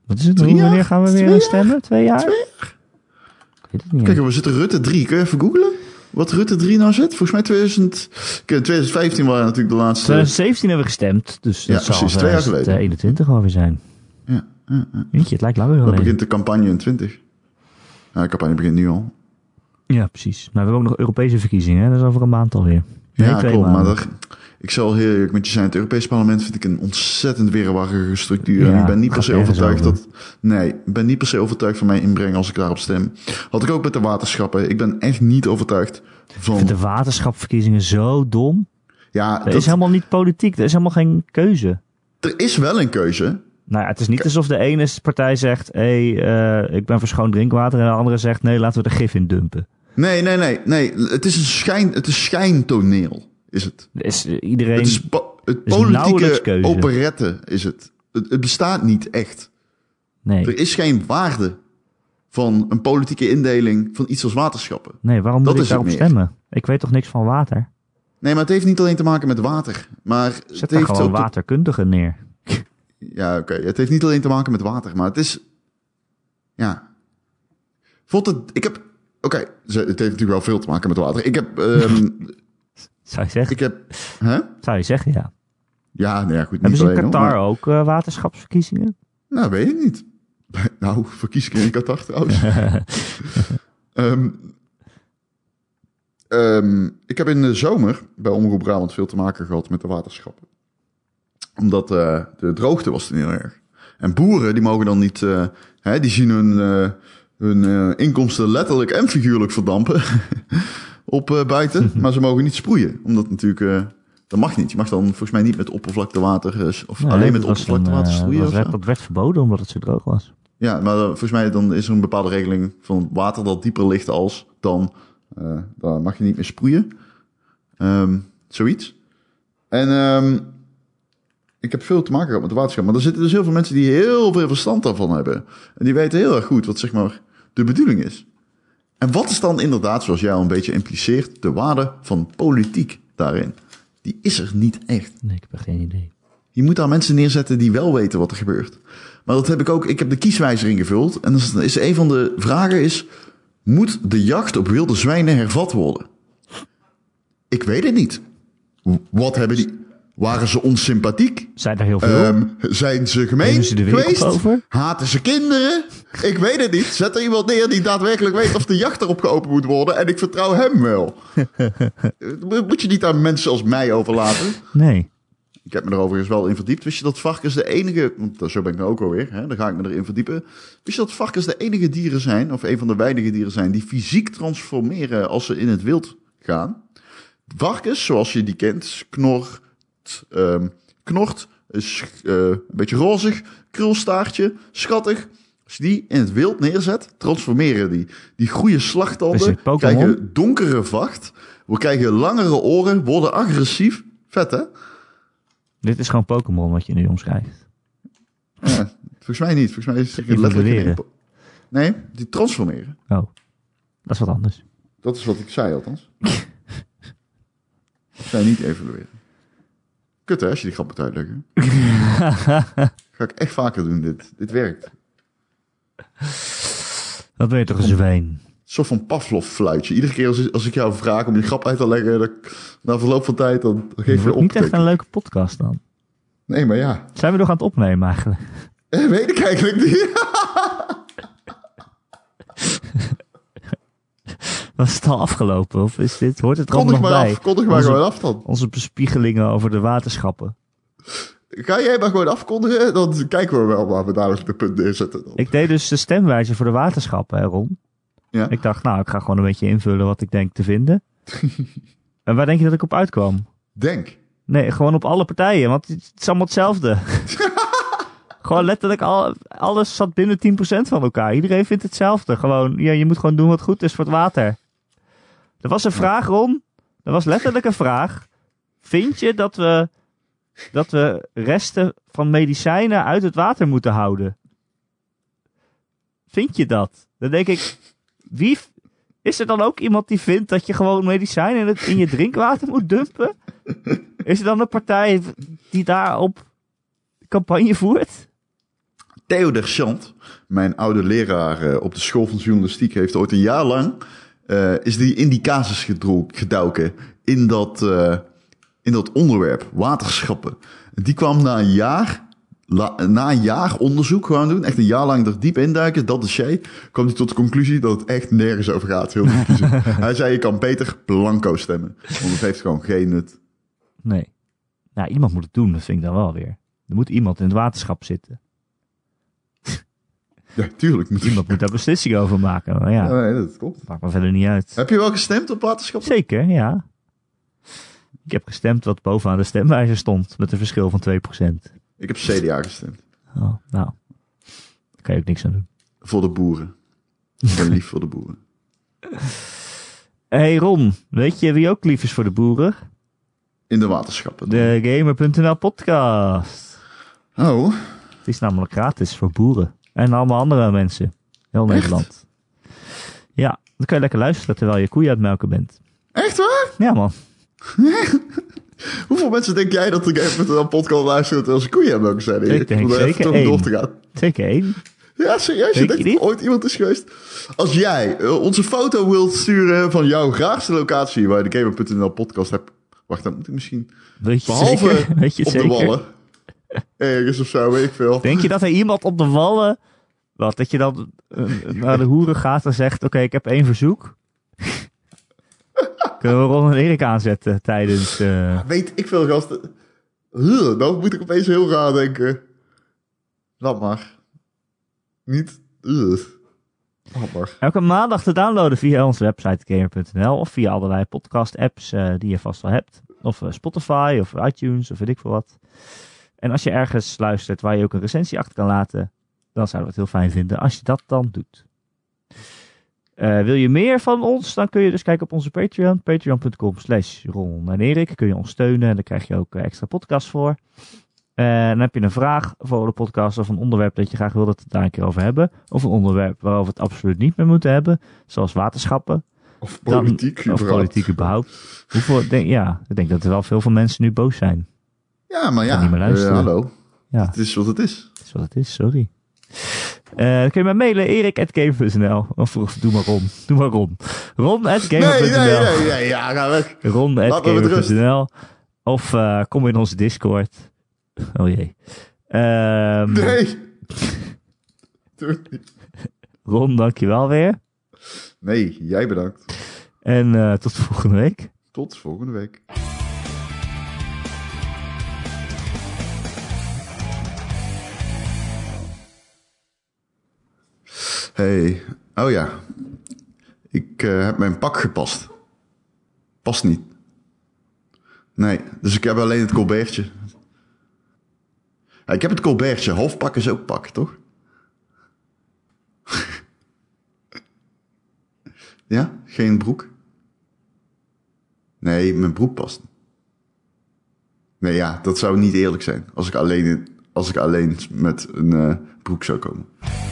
A: Wat is het?
B: Drie
A: Hoe- Wanneer
B: jaar?
A: gaan we weer
B: Twee jaar?
A: stemmen? Twee jaar? Ik weet het niet.
B: Kijk, we zitten Rutte 3. Kun je even googlen? Wat Rutte 3 nou zit? Volgens mij 2000... Kijk, 2015 waren natuurlijk de laatste.
A: 2017 hebben we gestemd, dus
B: Ja,
A: dat zal
B: precies, twee jaar geleden.
A: 2021 alweer zijn.
B: Ja, ja, ja.
A: Weet je, het lijkt langer
B: Dan
A: geleden.
B: begint de campagne in 20. Ja, de campagne begint nu al.
A: Ja, precies. Maar we hebben ook nog Europese verkiezingen, hè? dat is over een maand alweer. Nee,
B: ja,
A: twee
B: klopt. Maar
A: maanden.
B: dat, ik zal heel eerlijk met je zijn. Het Europees Parlement vind ik een ontzettend wirrewarrige structuur. en
A: Ja,
B: ik ben niet per
A: gaat
B: se
A: nergens
B: overtuigd
A: over.
B: dat... Nee, ik ben niet per se overtuigd van mijn inbreng als ik daarop stem. Had ik ook met de waterschappen. Ik ben echt niet overtuigd
A: Ik
B: van...
A: vind de waterschapverkiezingen zo dom.
B: Ja,
A: Er
B: dat-
A: is helemaal niet politiek, er is helemaal geen keuze.
B: er is wel een keuze.
A: Nou ja, het is niet alsof de ene partij zegt, hé, eh, ik ben voor schoon drinkwater. En de andere zegt, nee, laten we er gif in dumpen.
B: Nee, nee, nee, nee. Het is een schijn, het is schijntoneel, is het.
A: Er Is, eh, iedereen...
B: Het is po- het
A: is nauwelijks
B: politieke
A: keuze.
B: operette, is het. het. Het bestaat niet echt.
A: nee.
B: Er is geen waarde van een politieke indeling van iets als waterschappen.
A: nee, waarom
B: dat
A: moet ik
B: is het
A: daarop
B: meer.
A: stemmen? Ik weet toch niks van water?
B: Nee, maar het heeft niet alleen te maken met water. Maar
A: Zet
B: het
A: daar
B: heeft ook
A: gewoon
B: te-
A: waterkundigen neer.
B: Ja, oké. Het heeft niet alleen te maken met water, maar het is. Ja. Vond het. Ik heb. Oké, ze- het heeft natuurlijk wel veel te maken met water. Ik heb. ehm,
A: Zou je zeggen?
B: ik heb. Hè?
A: Zou je zeggen, ja.
B: Ja, nou ja, goed.
A: Hebben
B: niet
A: ze in
B: alleen, hoor, maar-
A: Qatar ook eh, waterschapsverkiezingen?
B: Nou, weet ik niet. Nou, verkies ik in Qatar trouwens. Ehm, ehm, ik heb in de zomer bij Omroep Brabant veel te maken gehad met de waterschappen. Omdat eh, de droogte was toen heel erg. En boeren, die mogen dan niet... eh, hè, die zien hun, eh, hun eh, inkomsten letterlijk en figuurlijk verdampen op eh, buiten. Maar ze mogen niet sproeien. Omdat natuurlijk... eh, dat mag niet. Je mag dan volgens mij niet met oppervlaktewater... eh, of
A: Nee,
B: alleen
A: dat
B: met
A: was toen,
B: oppervlaktewater
A: eh,
B: sproeien.
A: dat,
B: of
A: werd,
B: zo.
A: dat werd verboden omdat het zo droog was.
B: Ja, maar eh, volgens mij dan is er een bepaalde regeling van water dat dieper ligt als dan, eh daar mag je niet meer sproeien. Ehm, zoiets. En ehm, ik heb veel te maken gehad met de waterschap, maar er zitten dus heel veel mensen die heel veel verstand daarvan hebben. En die weten heel erg goed wat zeg maar de bedoeling is. En wat is dan inderdaad, zoals jij al een beetje impliceert, de waarde van politiek daarin? Die is er niet echt.
A: Nee, ik heb echt geen idee.
B: Je moet daar mensen neerzetten die wel weten wat er gebeurt. Maar dat heb ik ook. Ik heb de kieswijzer ingevuld. En dan is- is een van de vragen is... Moet de jacht op wilde zwijnen hervat worden? Ik weet het niet. W- Wat hebben die... Waren ze onsympathiek?
A: Zijn er heel veel?
B: Ehm, zijn ze gemeen
A: Nemen ze de wereld
B: geweest?
A: over?
B: Haten ze kinderen? Ik weet het niet. Zet er iemand neer die daadwerkelijk weet of de jacht erop geopend moet worden. En ik vertrouw hem wel. moet je niet aan mensen als mij overlaten?
A: nee.
B: Ik heb me er overigens wel in verdiept. Wist je dat varkens de enige... want Zo ben ik nou ook alweer, hè? daar ga ik me erin verdiepen. Wist je dat varkens de enige dieren zijn, of een van de weinige dieren zijn... die fysiek transformeren als ze in het wild gaan? Varkens, zoals je die kent, knort, ehm, knort is eh, een beetje rozig, krulstaartje, schattig. Als je die in het wild neerzet, transformeren die. Die groeien
A: Is
B: slagtanden,
A: dit Pokémon?
B: krijgen donkere vacht... we krijgen langere oren, worden agressief. Vet, hè?
A: Dit is gewoon Pokémon wat je nu omschrijft.
B: Ja, volgens mij niet. Volgens mij is het
A: Die
B: letterlijk een
A: evolueren.
B: impo- Nee, die transformeren.
A: Oh, dat is wat anders.
B: Dat is wat ik zei althans. Ze zijn niet evolueren. Kut hè, als je die grap moet uitleggen. Ga ik echt vaker doen dit. Dit werkt.
A: Dat weet toch eens een wijn.
B: Een soort van Pavlov fluitje. Iedere keer als, als ik jou vraag om je grap uit te leggen, dan, na verloop van tijd, dan, dan geef je
A: Wordt niet echt
B: op.
A: een leuke podcast dan.
B: Nee, maar ja.
A: Zijn we nog aan het opnemen eigenlijk?
B: Eh, Weet ik eigenlijk niet.
A: Was het al afgelopen of is dit, hoort het er allemaal
B: Kondig
A: nog
B: maar
A: bij?
B: af. Kondig maar
A: Onze-
B: gewoon af dan.
A: Onze bespiegelingen over de waterschappen.
B: Ga jij maar gewoon afkondigen, dan kijken we wel waar we dadelijk de punt neerzetten. Dan.
A: Ik deed dus de stemwijzer voor de waterschappen, hè, Ron.
B: Ja.
A: Ik dacht, nou, ik ga gewoon een beetje invullen wat ik denk te vinden. en waar denk je dat ik op uitkwam?
B: Denk.
A: Nee, gewoon op alle partijen, want het is allemaal hetzelfde. gewoon letterlijk, al, alles zat binnen 10% van elkaar. Iedereen vindt hetzelfde. Gewoon, ja, je moet gewoon doen wat goed is voor het water. Er was een vraag, Ron. Er was letterlijk een vraag. Vind je dat we, dat we resten van medicijnen uit het water moeten houden? Vind je dat? Dan denk ik, wie... v- Is er dan ook iemand die vindt dat je gewoon medicijnen in, het, in je drinkwater moet dumpen? Is er dan een partij die daarop campagne voert?
B: Theo Deschant, mijn oude leraar eh, op de school van journalistiek, heeft ooit een jaar lang eh, is die in die casus gedro- gedoken in dat, eh, in dat onderwerp waterschappen. En Die kwam na een jaar. la- na een jaar onderzoek gewoon doen, echt een jaar lang er diep induiken, dat is jij, kwam hij tot de conclusie dat het echt nergens over gaat. Heel die verkiezing. Hij zei, je kan beter blanco stemmen, want het heeft gewoon geen nut.
A: Nee. Nou, iemand moet het doen, dat vind ik dan wel weer. Er moet iemand in het waterschap zitten.
B: Ja, tuurlijk. Moet
A: Iemand moet daar beslissingen over maken. Maar ja,
B: Ja, nee, dat klopt.
A: maakt me verder niet uit.
B: Heb je wel gestemd op waterschap?
A: Zeker, ja. Ik heb gestemd wat bovenaan de stemwijzer stond, met een verschil van 2%.
B: Ik heb CDA gestemd.
A: Oh, nou, daar kan je ook niks aan doen.
B: Voor de boeren. Ik ben lief voor de boeren.
A: hey Ron, weet je wie ook lief is voor de boeren?
B: In de waterschappen.
A: De Gamer.nl podcast.
B: Oh,
A: Het is namelijk gratis voor boeren. En allemaal andere mensen. Heel Nederland. Ja, dan kan je lekker luisteren terwijl je koeien aan het melken bent.
B: echt waar?
A: Ja man,
B: Hoeveel mensen denk jij dat ik even een podcast luister terwijl ze koeien hebben ook zijn?
A: Ik denk
B: Om er even
A: zeker
B: toch
A: één.
B: door te gaan.
A: zeker één.
B: Ja, serieus? Je
A: Denk je
B: denkt dat
A: niet?
B: ooit iemand is geweest? Als jij eh, ons een foto wilt sturen van jouw graagste locatie waar je de Gamer.nl podcast hebt. Wacht, dan moet ik misschien...
A: Weet je het
B: Behalve
A: zeker? Weet je
B: op
A: het zeker?
B: de wallen. Ergens of zo, weet ik veel.
A: Denk je dat er iemand op de wallen... Wat, dat je dan eh, naar de hoeren gaat en zegt... Oké, ik heb één verzoek. Kunnen we Ron en Erik aanzetten tijdens... eh,
B: Weet ik veel, gasten. Huh, dan moet ik opeens heel raar denken. Laat maar. Niet. Huh. Laat maar.
A: Elke maandag te downloaden via onze website gamer.nl of via allerlei podcast-apps eh, die je vast wel hebt. Of eh, Spotify of iTunes of weet ik veel wat. En als je ergens luistert waar je ook een recensie achter kan laten, dan zouden we het heel fijn vinden als je dat dan doet. Eh, wil je meer van ons? Dan kun je dus kijken op onze Patreon. Patreon.com slash Ron en Erik. Kun je ons steunen en daar krijg je ook eh, extra podcasts voor. Eh, dan heb je een vraag voor de podcast of een onderwerp dat je graag wil dat we het daar een keer over hebben. Of een onderwerp waarover we het absoluut niet meer moeten hebben. Zoals waterschappen.
B: Of politiek.
A: Dan, of
B: überhaupt.
A: politiek überhaupt. Hoeveel, denk, ja, ik denk dat er wel veel van mensen nu boos zijn.
B: Ja, maar ja.
A: niet meer luisteren.
B: eh, hallo.
A: Ja.
B: Het is wat het is.
A: Dat is wat het is, sorry. Eh, dan kun je mij mailen, erik.game.nl. Of, of doe maar Ron. Doe maar Ron. Ron.game.nl.
B: Nee, nee, nee, nee, nee. Ja, ga weg. Laten we met rust.
A: Ron.game.nl. Of eh, kom in onze Discord. Oh jee. Ehm,
B: Nee. Doe het niet.
A: Ron, dankjewel weer.
B: Nee, jij bedankt.
A: En eh, tot volgende week.
B: Tot volgende week. Hey, oh ja. Ik eh, heb mijn pak gepast. Past niet. Nee, dus ik heb alleen het colbertje. Ja, ik heb het colbertje. Half pak is ook pak, toch? ja, geen broek. Nee, mijn broek past. niet. Nee, ja, dat zou niet eerlijk zijn als ik alleen, als ik alleen met een eh, broek zou komen.